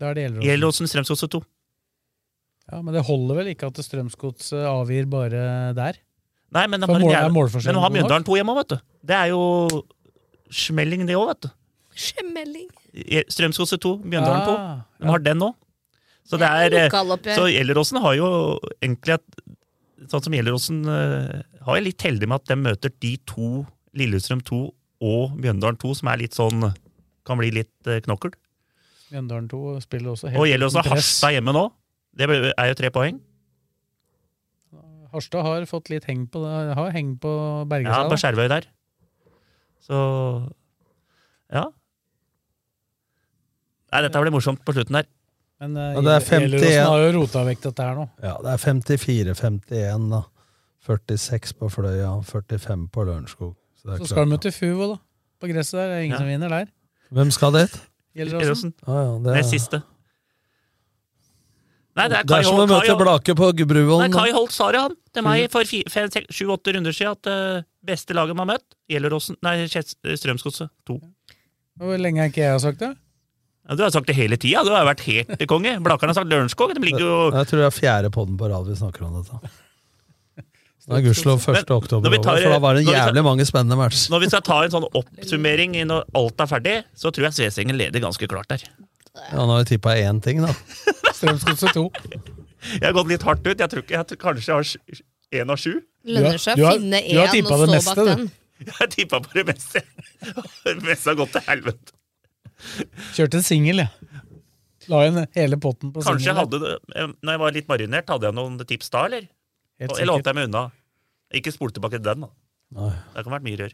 Da er det Gjelleråsen. Gjelleråsen Strømsgodset 2. Ja, Men det holder vel ikke at Strømsgodset avgir bare der? Nei, men de For har, mål- en jævla- er målforskjellen men de har god nok? Mjøndalen 2 hjemme òg, vet du. Det er jo smelling, det òg, vet du. Skjemmelding. Je- Strømsgodset 2, Mjøndalen 2. Ah, De har den òg. Så det Ja, er eh, lokaloppgjør. Så Gjelleråsen har jo egentlig at Sånn som Gjelleråsen eh, har jeg litt heldig med at de møter de to, Lillestrøm 2 og Mjøndalen 2, som er litt sånn Kan bli litt eh, knokkel. Mjøndalen 2 spiller også Og gjelder også uten press. Harstad hjemme nå. Det er jo tre poeng. Harstad har fått litt heng på det. Har heng på Ja, Bergestad. på Skjervøy der. Så Ja. Nei, dette blir morsomt på slutten her. Men eh, Ja, det er 51. Gjelleråsen har jo rota vekk dette her nå. Ja, det er 54-51, da. 46 på Fløya, 45 på Lørenskog. Så det er Så klart. skal de møte Fuvo, da. På gresset der. Det er ingen Ja. som vinner der. Hvem skal dit? Gjelleråsen. Ja, ja, det, Nest er, siste. Nei, det er det Kai er som å Holt. Kai møte Holt, Blake på Nei, Bruvollen. da. Kai Holt sa det, han, til meg for sju-åtte runder siden, at eh, beste laget man har møtt, Gjelleråsen Nei, Kjets- Strømsgodset 2. Og Hvor lenge har ikke jeg sagt det? Ja, du har sagt det hele tida. Du har vært helt konge. Blakkaren har sagt Lørenskog. De ligger jo Jeg tror det er fjerde podden på rad vi snakker om dette. Det er gudskjelov 1. Men oktober når vi over, tar- for da var det når vi tar- jævlig mange spennende matcher. Når vi skal ta en sånn oppsummering i når alt er ferdig, så tror jeg Svesengen leder ganske klart der. Ja, nå har vi tippa én ting, da. Strømsgodset 2. Jeg har gått litt hardt ut. Jeg tror ikke jeg tror kanskje jeg har én av sju. Lønner seg å finne du har én tippet det og stå meste, bak du. den. Jeg har tippa på det meste. Det meste har gått til helvete. Kjørte en singel, jeg. La igjen hele potten på Kanskje jeg singelen. hadde det eh, Når jeg var litt marinert, hadde jeg noen tips da, eller? Helt Eller sikkert. holdt jeg meg unna? Ikke spol tilbake til den, da. Nei. Det kan ha vært mye rør.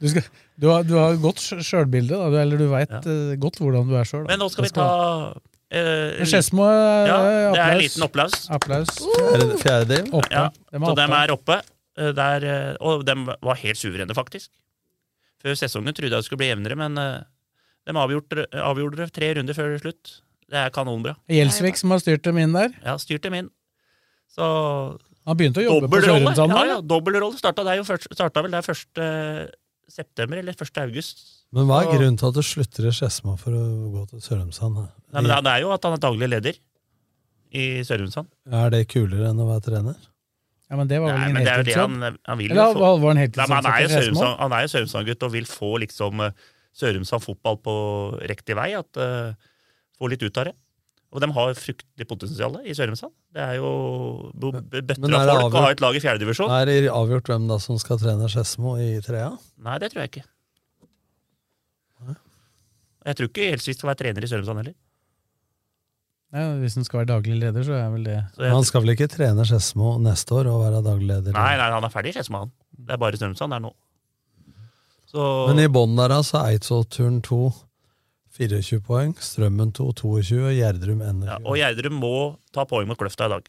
Du, skal, du, har, du har godt sj- sjølbilde, da. Du- eller du veit godt hvordan du er sjøl. Men nå skal vi ta eh, Skedsmo Ja, det er en applaus. liten opplaus. Applaus. Fjerde- fjerdedel? Oppe. Ja, Dem er så dem oppe. er oppe. Eh, Der, eh, og dem var helt suverene, faktisk. Før sesongen trodde jeg det skulle bli jevnere, men eh, dem avgjorde, avgjorde det tre runder før slutt. Det er kanonbra. Gjelsvik som har styrt dem inn der. Ja, styrt dem inn. Så Han begynte å jobbe på dobbeltrolle. Sørumsand Ja, nå, ja, dobbeltrolle starta, der jo først- starta vel der 1. september, eller 1. august. Men hva er Og- grunnen til at du slutter i Skedsmo for å gå til Sørumsand? Nei, Mm. men Det er jo at han er daglig leder i Sørumsand. Er det kulere enn å være trener? Ja, men det var vel Nei, ingen men det er jo det heltidsjobb. han, han vil Eller jo få. var han Nei, men han er jo heltidsansatt i Skedsmo? Sørumsand- han er jo Sørumsand-gutt og vil få liksom eh, Sørumsand fotball på riktig vei. At, eh, få litt ut av det. Og de har fryktelig potensial i Sørumsand. Det er jo bo- bøtter av folk å ha et lag i fjerdedivisjon. Er det avgjort hvem da som skal trene Skedsmo i trea? Nei, det tror jeg ikke. Jeg tror ikke Gjelsvik skal være trener i Sørumsand heller. Nei, hvis han skal være daglig leder, så er vel det Han skal vel ikke trene Skedsmo neste år og være daglig leder? Nei, nei, han er ferdig i Skedsmo, han. Det er bare Sørumsand der nå. Så Men i bånn der altså, Eidsvollturen 2, 24 poeng, Strømmen 2, 22, og Gjerdrum 21. ja, Ja, Og Gjerdrum må ta poeng mot Kløfta i dag.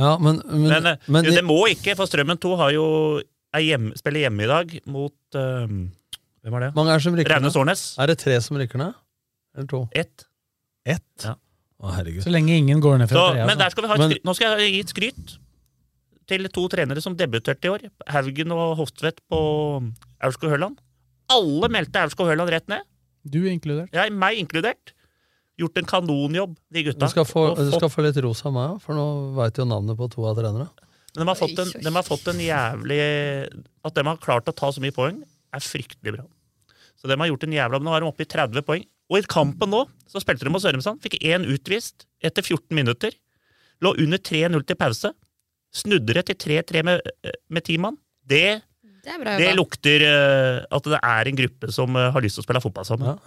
men, men, Men, eh, men jo, i- det må ikke, for Strømmen 2 har jo, er hjemme, spiller hjemme i dag mot eh, Hvem er det? mange er det som rykker Raunes ned? Årnes. Er det tre som rykker ned? Eller to? Ett. Ett? Ja. Å, herregud. Så lenge ingen går ned Så, fra men trea. altså. så- der skal vi ha et Men- skryt. Nå skal jeg gi et skryt til to trenere som debuterte i år. Haugen og Hoftvedt på Aurskog Høland. Alle meldte Aurskog Høland rett ned. Du inkludert. Jeg, meg inkludert. Gjort en kanonjobb, de Du gutta. skal, få, Og du fått- skal få litt ros av meg, for nå veit jo navnet på to av trenerne. Men de har, fått en, de har fått en jævlig At de har klart å ta så mye poeng, er fryktelig bra. Så de har gjort en jævla Nå er de oppe i 30 poeng. Og i kampen nå så spilte de mot Sørumsand. Fikk én utvist etter 14 minutter. Lå under 3-0 til pause. Snudde det til 3-3 med, eh, med ti mann. Det, Det er bra det jobba. lukter eh, at det er en gruppe som eh, har lyst til å spille fotball sammen.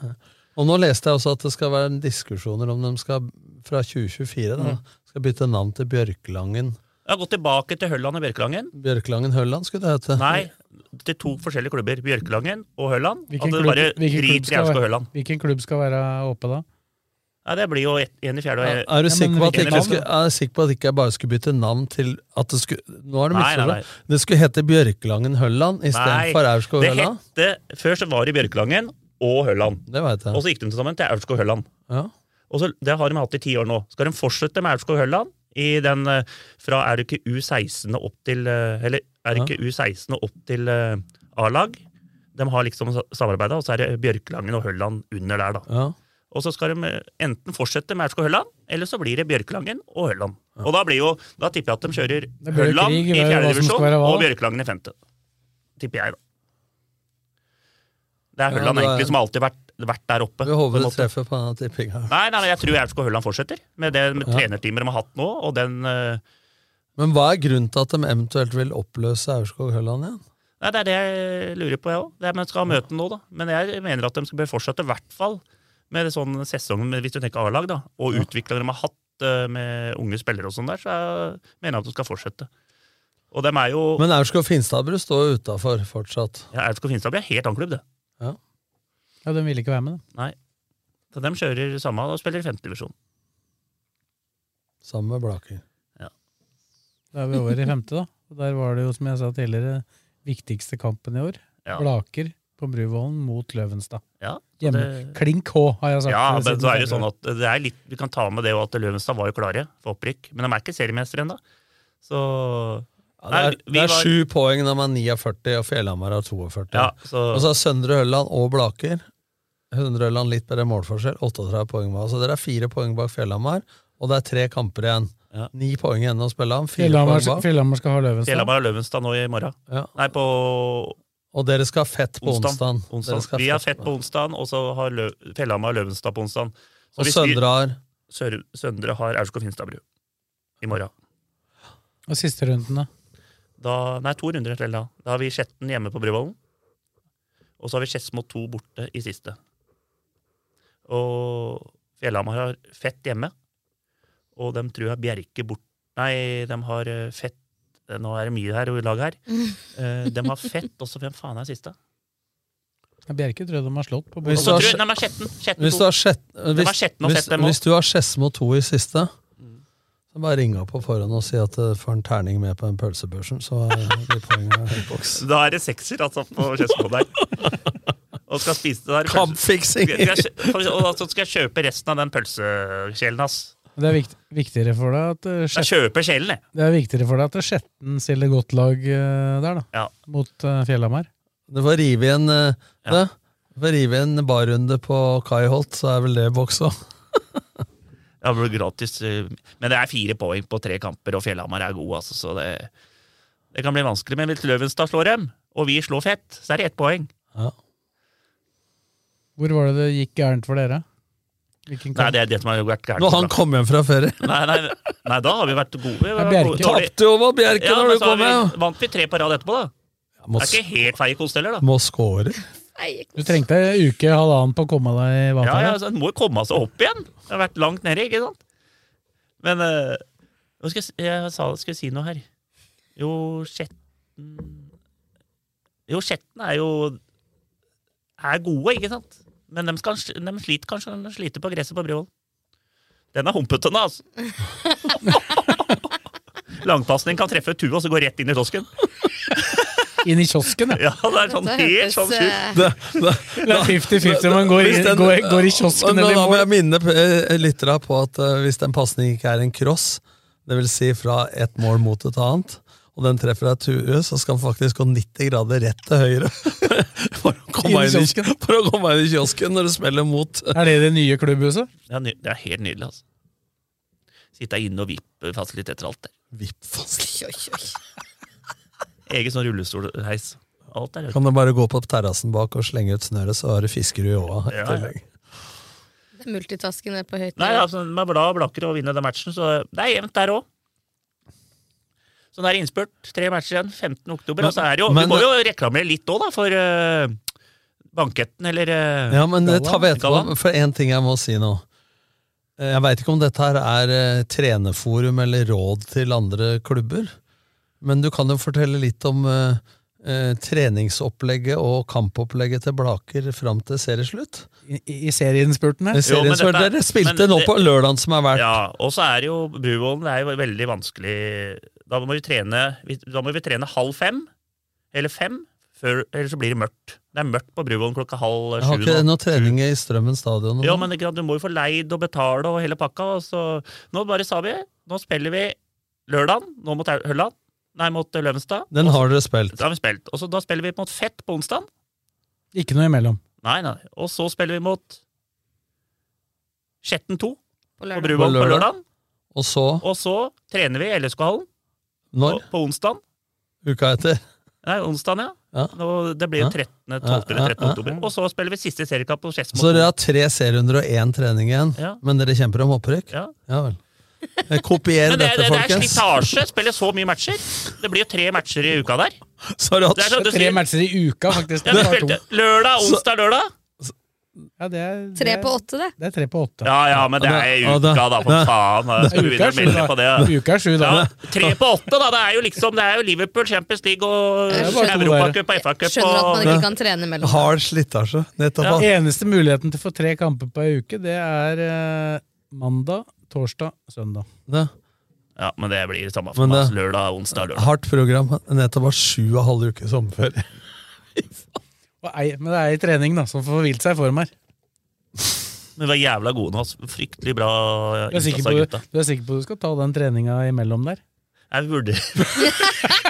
Og nå leste jeg også at det skal være en diskusjoner om de skal, fra 2024, da, Mm. skal bytte navn til Bjørklangen. Jeg har gått tilbake til Hølland og Bjørkelangen. Bjørklangen Hølland skulle det hete. Nei, til to forskjellige klubber. Bjørkelangen og Hølland. At Hvilken det klubb, bare hvilken rir klubb til skal Aurskog være- Hølland. hvilken klubb skal være oppe da? Ja, det blir jo ett- en i fjerde og en- Er du sikker på at det en i femte. ikke, skulle, er du sikker på at det ikke bare skulle bytte navn til at det skulle, Nå er det Nei, nei, misforstått. nei. Det skulle hete Bjørklangen Hølland istedenfor Aurskog det Hølland. hette Før så var det Bjørkelangen og Hølland. Det vet jeg. Og så gikk de til sammen til Aurskog Hølland. Ja. Og så, Det har de hatt i ti år nå. Skal de fortsette med Aurskog Hølland i den eh, fra er det ikke U16 og opp til eh, Eller er det ikke U16 og opp til eh, A-lag? De har liksom samarbeida, og så er det Bjørkelangen og Hølland under der, da. Ja. Og så skal de eh, enten fortsette med Aurskog Hølland, eller så blir det Bjørkelangen og Hølland. Og da blir jo, da tipper jeg at de kjører blir jo Hølland krig i i hva- fjerde hva som skal divisjon være hva, og da. Bjørkelangen i femte. Tipper jeg, da. Det er Ja, Hølland det er- egentlig som har alltid vært, vært der oppe. Vi på en håper det måte. treffer på denne tippinga. Nei, nei, nei, jeg tror Aurskog Hølland fortsetter med det med Ja. trenerteamet de har hatt nå. og den... eh, Men hva er grunnen til at de eventuelt vil oppløse Aurskog Hølland igjen? Nei, Det er det jeg lurer på, jeg òg. Men skal ha møte nå, da. Men jeg mener at de skal bør fortsette, i hvert fall med sånn sesong, med- hvis du tenker A-lag, da, og utvikla de har hatt eh, med unge spillere og sånn der, så jeg mener at de skal fortsette. Og dem er jo Men Aurskog Finstadbru står utafor fortsatt. ja, Aurskog Finstad blir en helt annen klubb, det. Ja, Den ville ikke være med, da. Nei. Så de kjører samme og spiller i femtedivisjon. Sammen med Blaker. Da er vi over i femte, da. Og der var det jo, som jeg sa tidligere, viktigste kampen i år. Ja. Blaker på Bruvollen mot Løvenstad. Ja, så Hjemme. det- Klink H, har jeg Altså, sagt. Ja, siden men så er det jo sånn februar. at det er litt, Vi kan ta med det og at Løvenstad var jo klare for opprykk, men de er ikke seriemestere ennå. Så Det Nei, er, vi det er var- sju poeng når man er 49, og Fjellhamar har 42. Ja, så- Og så er Søndre Hølland og Blaker. Søndre Hølland litt bedre målforskjell, 38 poeng hver. Så dere er fire poeng bak Fjellhamar, og det er tre kamper igjen. Ni poeng igjen å spille om, fire Fjellhamar poeng bak. sånn- Fjellhamar skal ha Løvenstad. Fjellhamar og Løvenstad nå i morgen. Ja. Nei, på Og dere skal ha fett på onsdagen. Dere onsdag. skal Vi har fett på onsdagen, og så har Lø- Fjellhamar og Løvenstad på onsdagen. Så Og hvis vi- Søndre har? Sør- Søndre har Aurskog-Finstadbru i morgen. Og siste runden, da? Da, nei, to runder etter da. Da har vi Skjetten hjemme på Bruvollen. Og så har vi Skedsmo 2 borte i siste. Og Fjellhamar har Fett hjemme. Og dem tror jeg Bjerke bort... Nei, dem har eh, Fett Nå er det mye her i laget her. Eh, dem har Fett, og så hvem faen er siste? Ja, Bjerke tror jeg de har slått på Hvis du har- Nei, men Skjetten- Skjetten hvis to. du har sjett, Det var hvis, Skjetten og hvis, Fett, dem også. hvis du har Skedsmo 2 i siste, så bare ring opp på forhånd og si at du får en terning med på den pølsebørsen, så er de poengene i boks. Da er det sekser, altså, på Skedsmo der. Og skal spise det der. Kampfiksing! Skal jeg kjø- Og så skal jeg kjøpe resten av den pølsekjelen hans. Det er vikt, viktigere for deg at eh, Jeg Skjet- kjøper kjelen, jeg. Det er viktigere for deg at Skjetten stiller godt lag eh, der, da. Ja. Mot eh, Fjellhamar. Du får rive i en, eh, det. Du får rive i en barrunde på Kai Holt, så er vel det i boks òg. Det blir gratis. eh, Men det er fire poeng på tre kamper, og Fjellhamar er god, altså, så det, det kan bli vanskelig. Men hvis Løvenstad slår dem, og vi slår fett, så er det ett poeng. Hvor var det det gikk gærent for dere? Hvilken Nei, det er det som har vært gærent. Når han kom hjem fra ferie. Nei, nei, nei, da har vi vært gode. Vi har Bjerke vært dårlige. tapte jo over Bjerke når men du så har kom hjem. vi- Vant vi tre på rad etterpå, da? må Det er ikke helt feil kost heller, da. Må score. Du trengte ei uke, halvannen på å komme deg i Ja, vater? ja, altså, en må jo komme seg opp igjen. Det har vært langt nede, ikke sant? Men eh, hva skal jeg, si- jeg sa, skulle si noe her. Jo, Skjetten Jo, Skjetten er jo er gode, ikke sant? Men dem, skal, dem sliter kanskje de sliter på gresset på Bryvoll. Den er humpete, den, altså. Langpasning kan treffe tuet, og så gå rett inn i tosken. Inn i kiosken, ja. det er sånn Dette helt sånn hørtes, eh, surt. Det, det, Det er 50-50 om man går i- Hvis den- går i- går i kiosken Men eller i Da må mål. jeg minne eh, lyttere på at eh, hvis den pasningen ikke er en cross, det vil si fra et mål mot et annet, og den treffer deg tue, så skal den faktisk gå 90 grader rett til høyre for å komme Inn inn i i, for å komme inn i kiosken når du smeller mot. eh, Er det det nye klubbhuset? Det er, ny, det er helt nydelig, altså. Sitte inne og vippe fasiliteter og alt der. Egen sånn rullestolheis. Alt er Kan du bare gå på terrassen bak og slenge ut snøret, så har du fisker i åa. i Ja, ja. tillegg. Det er multitasking nede på høyt Nei, altså, med blad og blakker og vinne den matchen, så det er jevnt der òg. Så det er innspurt. Tre matcher igjen. 15. oktober. Men- og så er det jo, men- vi må jo reklamere litt òg, da, for eh, banketten eller eh, Ja, men det tar vi etterpå, gallaen. for en ting jeg må si nå. Eh, Jeg veit ikke om dette her er eh, trenerforum eller råd til andre klubber, men du kan jo fortelle litt om eh, eh, treningsopplegget og kampopplegget til Blaker fram til serieslutt. I, i serieinnspurten her? I serien, så dere spilte nå på lørdagen som er vært. Ja, og så er det jo Bruvollen det er jo veldig vanskelig. Da må vi trene, vi- da må vi trene halv fem, eller fem, før, eller så blir det mørkt. Det er mørkt på Bruvollen klokka halv Jeg sju. har ikke nå. noe trening i Strømmen stadion. nå. Ja, men ikke sant, du må jo få leid og betale og hele pakka. Og så, nå bare sa vi nå spiller vi lørdag nå mot Au- Hølland. Nei, mot eh, Løvenstad. Den har dere spilt. Da har vi spilt. Og så da spiller vi mot Fett på onsdag. Ikke noe imellom. Nei, nei. Og så spiller vi mot Skjetten 2 på lørdag. Bruvoll På på lørdag. lørdag. Og så, Og så trener vi i LSK-hallen når? på onsdag. Uka etter. Nei, onsdag, ja. Ja. Nå- det blir jo Ja. 13. 12. Ja, ja, eller 13. ja. oktober. Og så spiller vi siste seriekamp på Skedsmo. Så dere har tre serierunder og én trening igjen, Ja. men dere kjemper om opprykk? Ja. vel. Eh, Kopier Men det, dette, det, det er folkens. slitasje. Spiller så mye matcher. Det blir jo tre matcher i uka der. Så har du Det er sånn hatt du sier- matcher i uka, faktisk. Ja, Det vi er bare spilte lørdag, onsdag, lørdag. Ja, det er, det Tre er- på åtte, det. Det er tre på åtte. Ja, ja, men det er i Ja, det- uka, da, det- for faen. da. Skal du begynne Uka er å sju, melde på det? da. Uka er sju, da. Ja, tre på åtte, da. Det er jo liksom Det er jo Liverpool, Champions League og er bare to der. Europacup og FA-cup Skjønner at man og ikke kan trene mellom. Hard slitasje. Nettopp. Ja. Ja. Eneste muligheten til å få tre kamper på ei uke, det er eh, mandag, torsdag, søndag. Det. Ja, men det blir det samme Men for meg. altså, det- Lørdag, onsdag, lørdag. Hardt program. Nettopp var sju og en halv uke sommerferie. Og ei, men det er ei trening da, som får hvilt seg i form her. Men vi var jævla gode nå. altså. Fryktelig bra Du er, sikker innsats på, av gutta. du er sikker på du skal ta den treninga imellom der? Jeg burde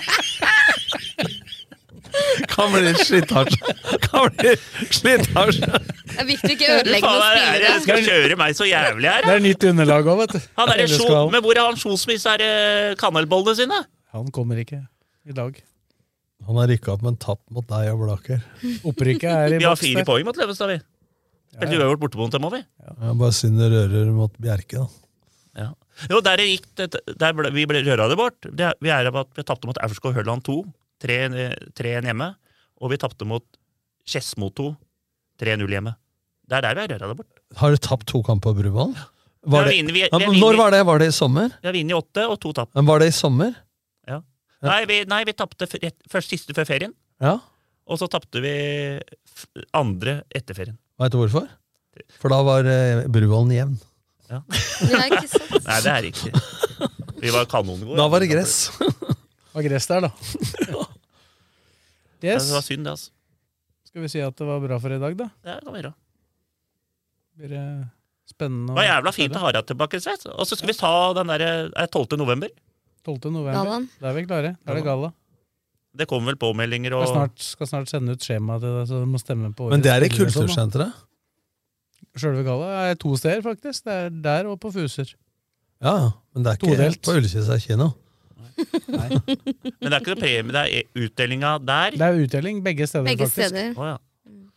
Kan bli slitasje. Kan bli slitasje. Det er viktig å ikke Du ødelegge faen, noen er, er, spillere. skal kjøre meg så jævlig her. Det er nytt underlag òg, vet du. Han er i Eller sjo- skal han? men hvor er han Sjosmis er eh, kanelbollene sine? Han kommer ikke i dag. Han har rykka opp med en tapp mot deg og Blaker. Opprykket er i Vi har boks. fire det. poeng mot Løvenstad, vi. Spilte uavgjort borte mot dem òg, vi. Ja, bare synd det rører mot Bjerke, da. Ja. Jo, der det gikk det, der ble, Vi ble røra det bort. Det, vi er av at vi tapte mot Aurskog Høland 2, 3-1 hjemme. Og vi tapte mot Skedsmo 2, 3-0 hjemme. Det er der vi er røra det bort. Har du tapt to kamper på Brumunddal? Ja, vi vinner- vi- vi vinner- Når var det? Var det i sommer? Vi har vunnet åtte og to tap. Men Var det i sommer? Ja. Nei, vi, nei, vi tapte f- rett- først siste før ferien. Ja. Og så tapte vi f- andre etter ferien. Veit du hvorfor? For da var eh, Bruvollen jevn. Ja. Nei, det er riktig. Vi var kanongode. Da var det gress. Det var gress der, da. Ja, Yes. Det var synd, det, altså. Skal vi si at det var bra for i dag, da? Ja, det kan være. Blir det Det spennende å var jævla fint å ha deg tilbake, Sveit. Og så skal vi ta den der er det 12. november. 12. november. Gallaen. Da er vi klare. Da er det galla. Det kommer vel påmeldinger og Skal snart, skal snart sende ut skjema til deg, så du må stemme på Men det er i spillere og sånn, da. kultursenteret? Sjølve galla er to steder, faktisk. Det er der og på Fuser. Ja, ja. men det er ikke Todelt. på Ullkisa kino. Men det er ikke noe premie, det er e- utdelinga der. Det er utdeling begge steder, Begge faktisk. steder. Å, ja.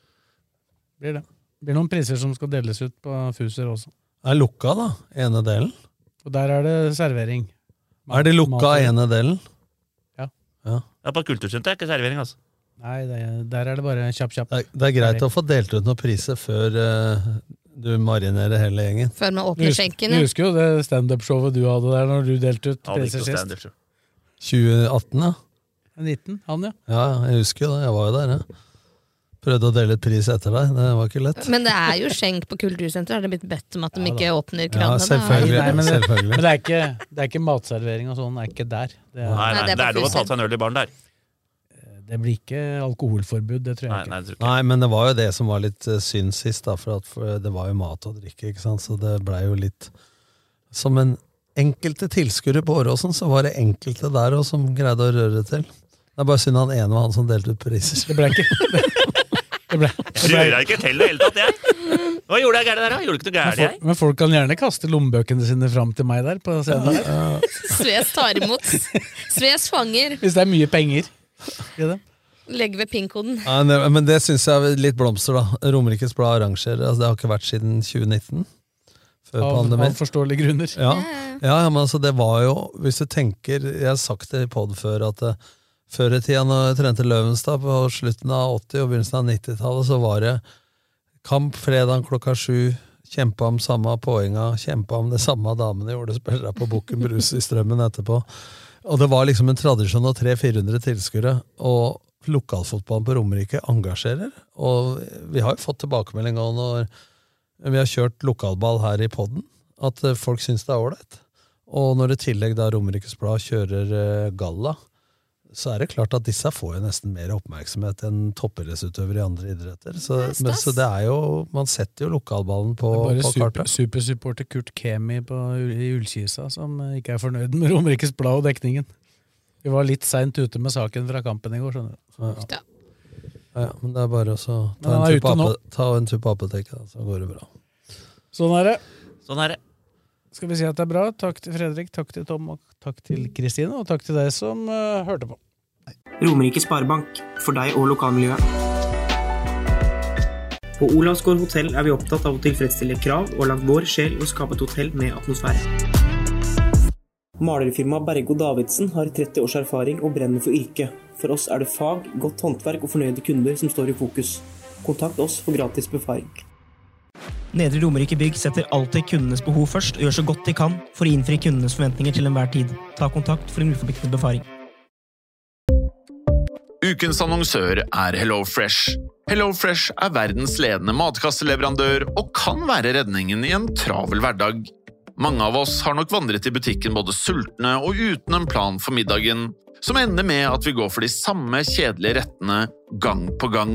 Blir det. blir noen priser som skal deles ut på Fuser også. Det er lukka, da. Ene delen. Og der er det servering. Er det lukka Mat- ene delen? Ja. ja. Ja, på kultursenteret er ikke servering, altså. Nei, det, er- der er det bare kjapp, kjapp. Det er, Det er greit å få delt ut noen priser før eh, du marinerer hele gjengen. Før man Du åpner husker, skjenken. du ja. husker jo det standup-showet du hadde der når du delte ut Ja, det gikk priser jo sist? standard, så. 2018, ja. 19, han ja. Ja, jeg husker jo det. Jeg var jo der, ja. Prøvde å dele ut pris etter deg. Det var ikke lett. Men det er jo skjenk på kultursenteret. Har det blitt bedt om at de ikke åpner Ja, kranene? da? selvfølgelig. Nei, men, Selvfølgelig. men det, er ikke, det er ikke matservering og sånn, det er ikke der. Det, er, Nei, nei, det er det er på lov å ta seg en øl i baren der. det blir ikke alkoholforbud, det tror jeg Nei, ikke. nei, det tror jeg Nei, men det var jo det som var litt eh, synd sist, da, for, at, for det var jo mat og drikke, ikke sant, så det blei jo litt Som en enkelte tilskuere på Åråsen, så var det enkelte der òg som greide å røre det til. Det er bare synd han ene var han som delte ut priser. Det ble ikke det ble, det ikke. ble, Røra ikke til i det hele tatt, jeg. Hva gjorde jeg gærent der, da? Gjorde ikke noe men, gærent, jeg. folk, men folk kan gjerne kaste lommebøkene sine fram til meg der. på scenen der. Sves tar imot. Sves fanger. Hvis det er mye penger. i det. Legg ved pin-koden. Ja, men det- men det syns jeg er litt blomster, da. Romerikes Blad arrangerer. Altså, det har ikke vært siden 2019. Før Av, pandemien. av forståelige grunner. Ja, ja, ja men altså det var jo Hvis du tenker, jeg har sagt det i podd før At eh, før i tida når jeg trente Løvenstad På slutten av 80 og begynnelsen av 90-tallet Så var det kamp fredag klokka sju Kjempa om samme poenga Kjempa om det samme damene gjorde Spillere på Boken Brus i strømmen etterpå Og det var liksom en tradisjon av 300-400 tilskuere Og lokalfotballen på Romerike engasjerer Og vi har jo fått tilbakemelding også når vi har kjørt lokalball her i podden, at eh, folk syns det er ålreit. Og når i tillegg da Romerikes Blad kjører eh, galla, så er det klart at disse får jo nesten mer oppmerksomhet enn toppidrettsutøvere i andre idretter. Så, Det er men, stas. så det er jo, man setter jo lokalballen på, Det er på bare super, kartet. supersupporter Kurt Kemi på, i Ullkisa som eh, ikke er fornøyd med Romerikes Blad og dekningen. Vi var litt seint ute med saken fra kampen i går. skjønner du. Ja. Ja, ja, men det er bare å så Men ta, en han er tur på ute nå. ape- ta en tur på apoteket, da, så går det bra. Sånn er det. Sånn er det. Skal vi si at det er bra? Takk til Fredrik, takk til Tom, og takk til Kristine, og takk til deg som eh, hørte på. Romerike Sparebank, for deg og lokalmiljøet. På Olavsgård hotell er vi opptatt av å tilfredsstille krav og lagt vår sjel i å skape et hotell med atmosfære. Malerfirmaet Bergo Davidsen har 30 års erfaring og brenner for yrket. For oss er det fag, godt håndverk og fornøyde kunder som står i fokus. Kontakt oss for gratis befaring. Nedre Romerike Bygg setter alltid kundenes behov først og gjør så godt de kan for å innfri kundenes forventninger til enhver tid. Ta kontakt for en uforpliktende befaring. Ukens annonsør er HelloFresh. HelloFresh er verdens ledende matkasseleverandør og kan være redningen i en travel hverdag. Mange av oss har nok vandret i butikken både sultne og uten en plan for middagen, som ender med at vi går for de samme kjedelige rettene gang på gang.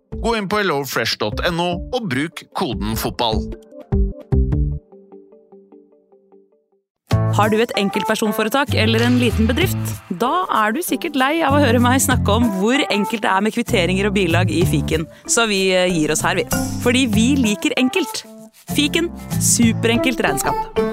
Gå inn på hellofresh.no og bruk koden FOTBALL. Har du et enkeltpersonforetak eller en liten bedrift? Da er du sikkert lei av å høre meg snakke om hvor enkelt det er med kvitteringer og bilag i fiken, så vi eh, gir oss her, vi. Fordi vi liker enkelt. Fiken superenkelt regnskap.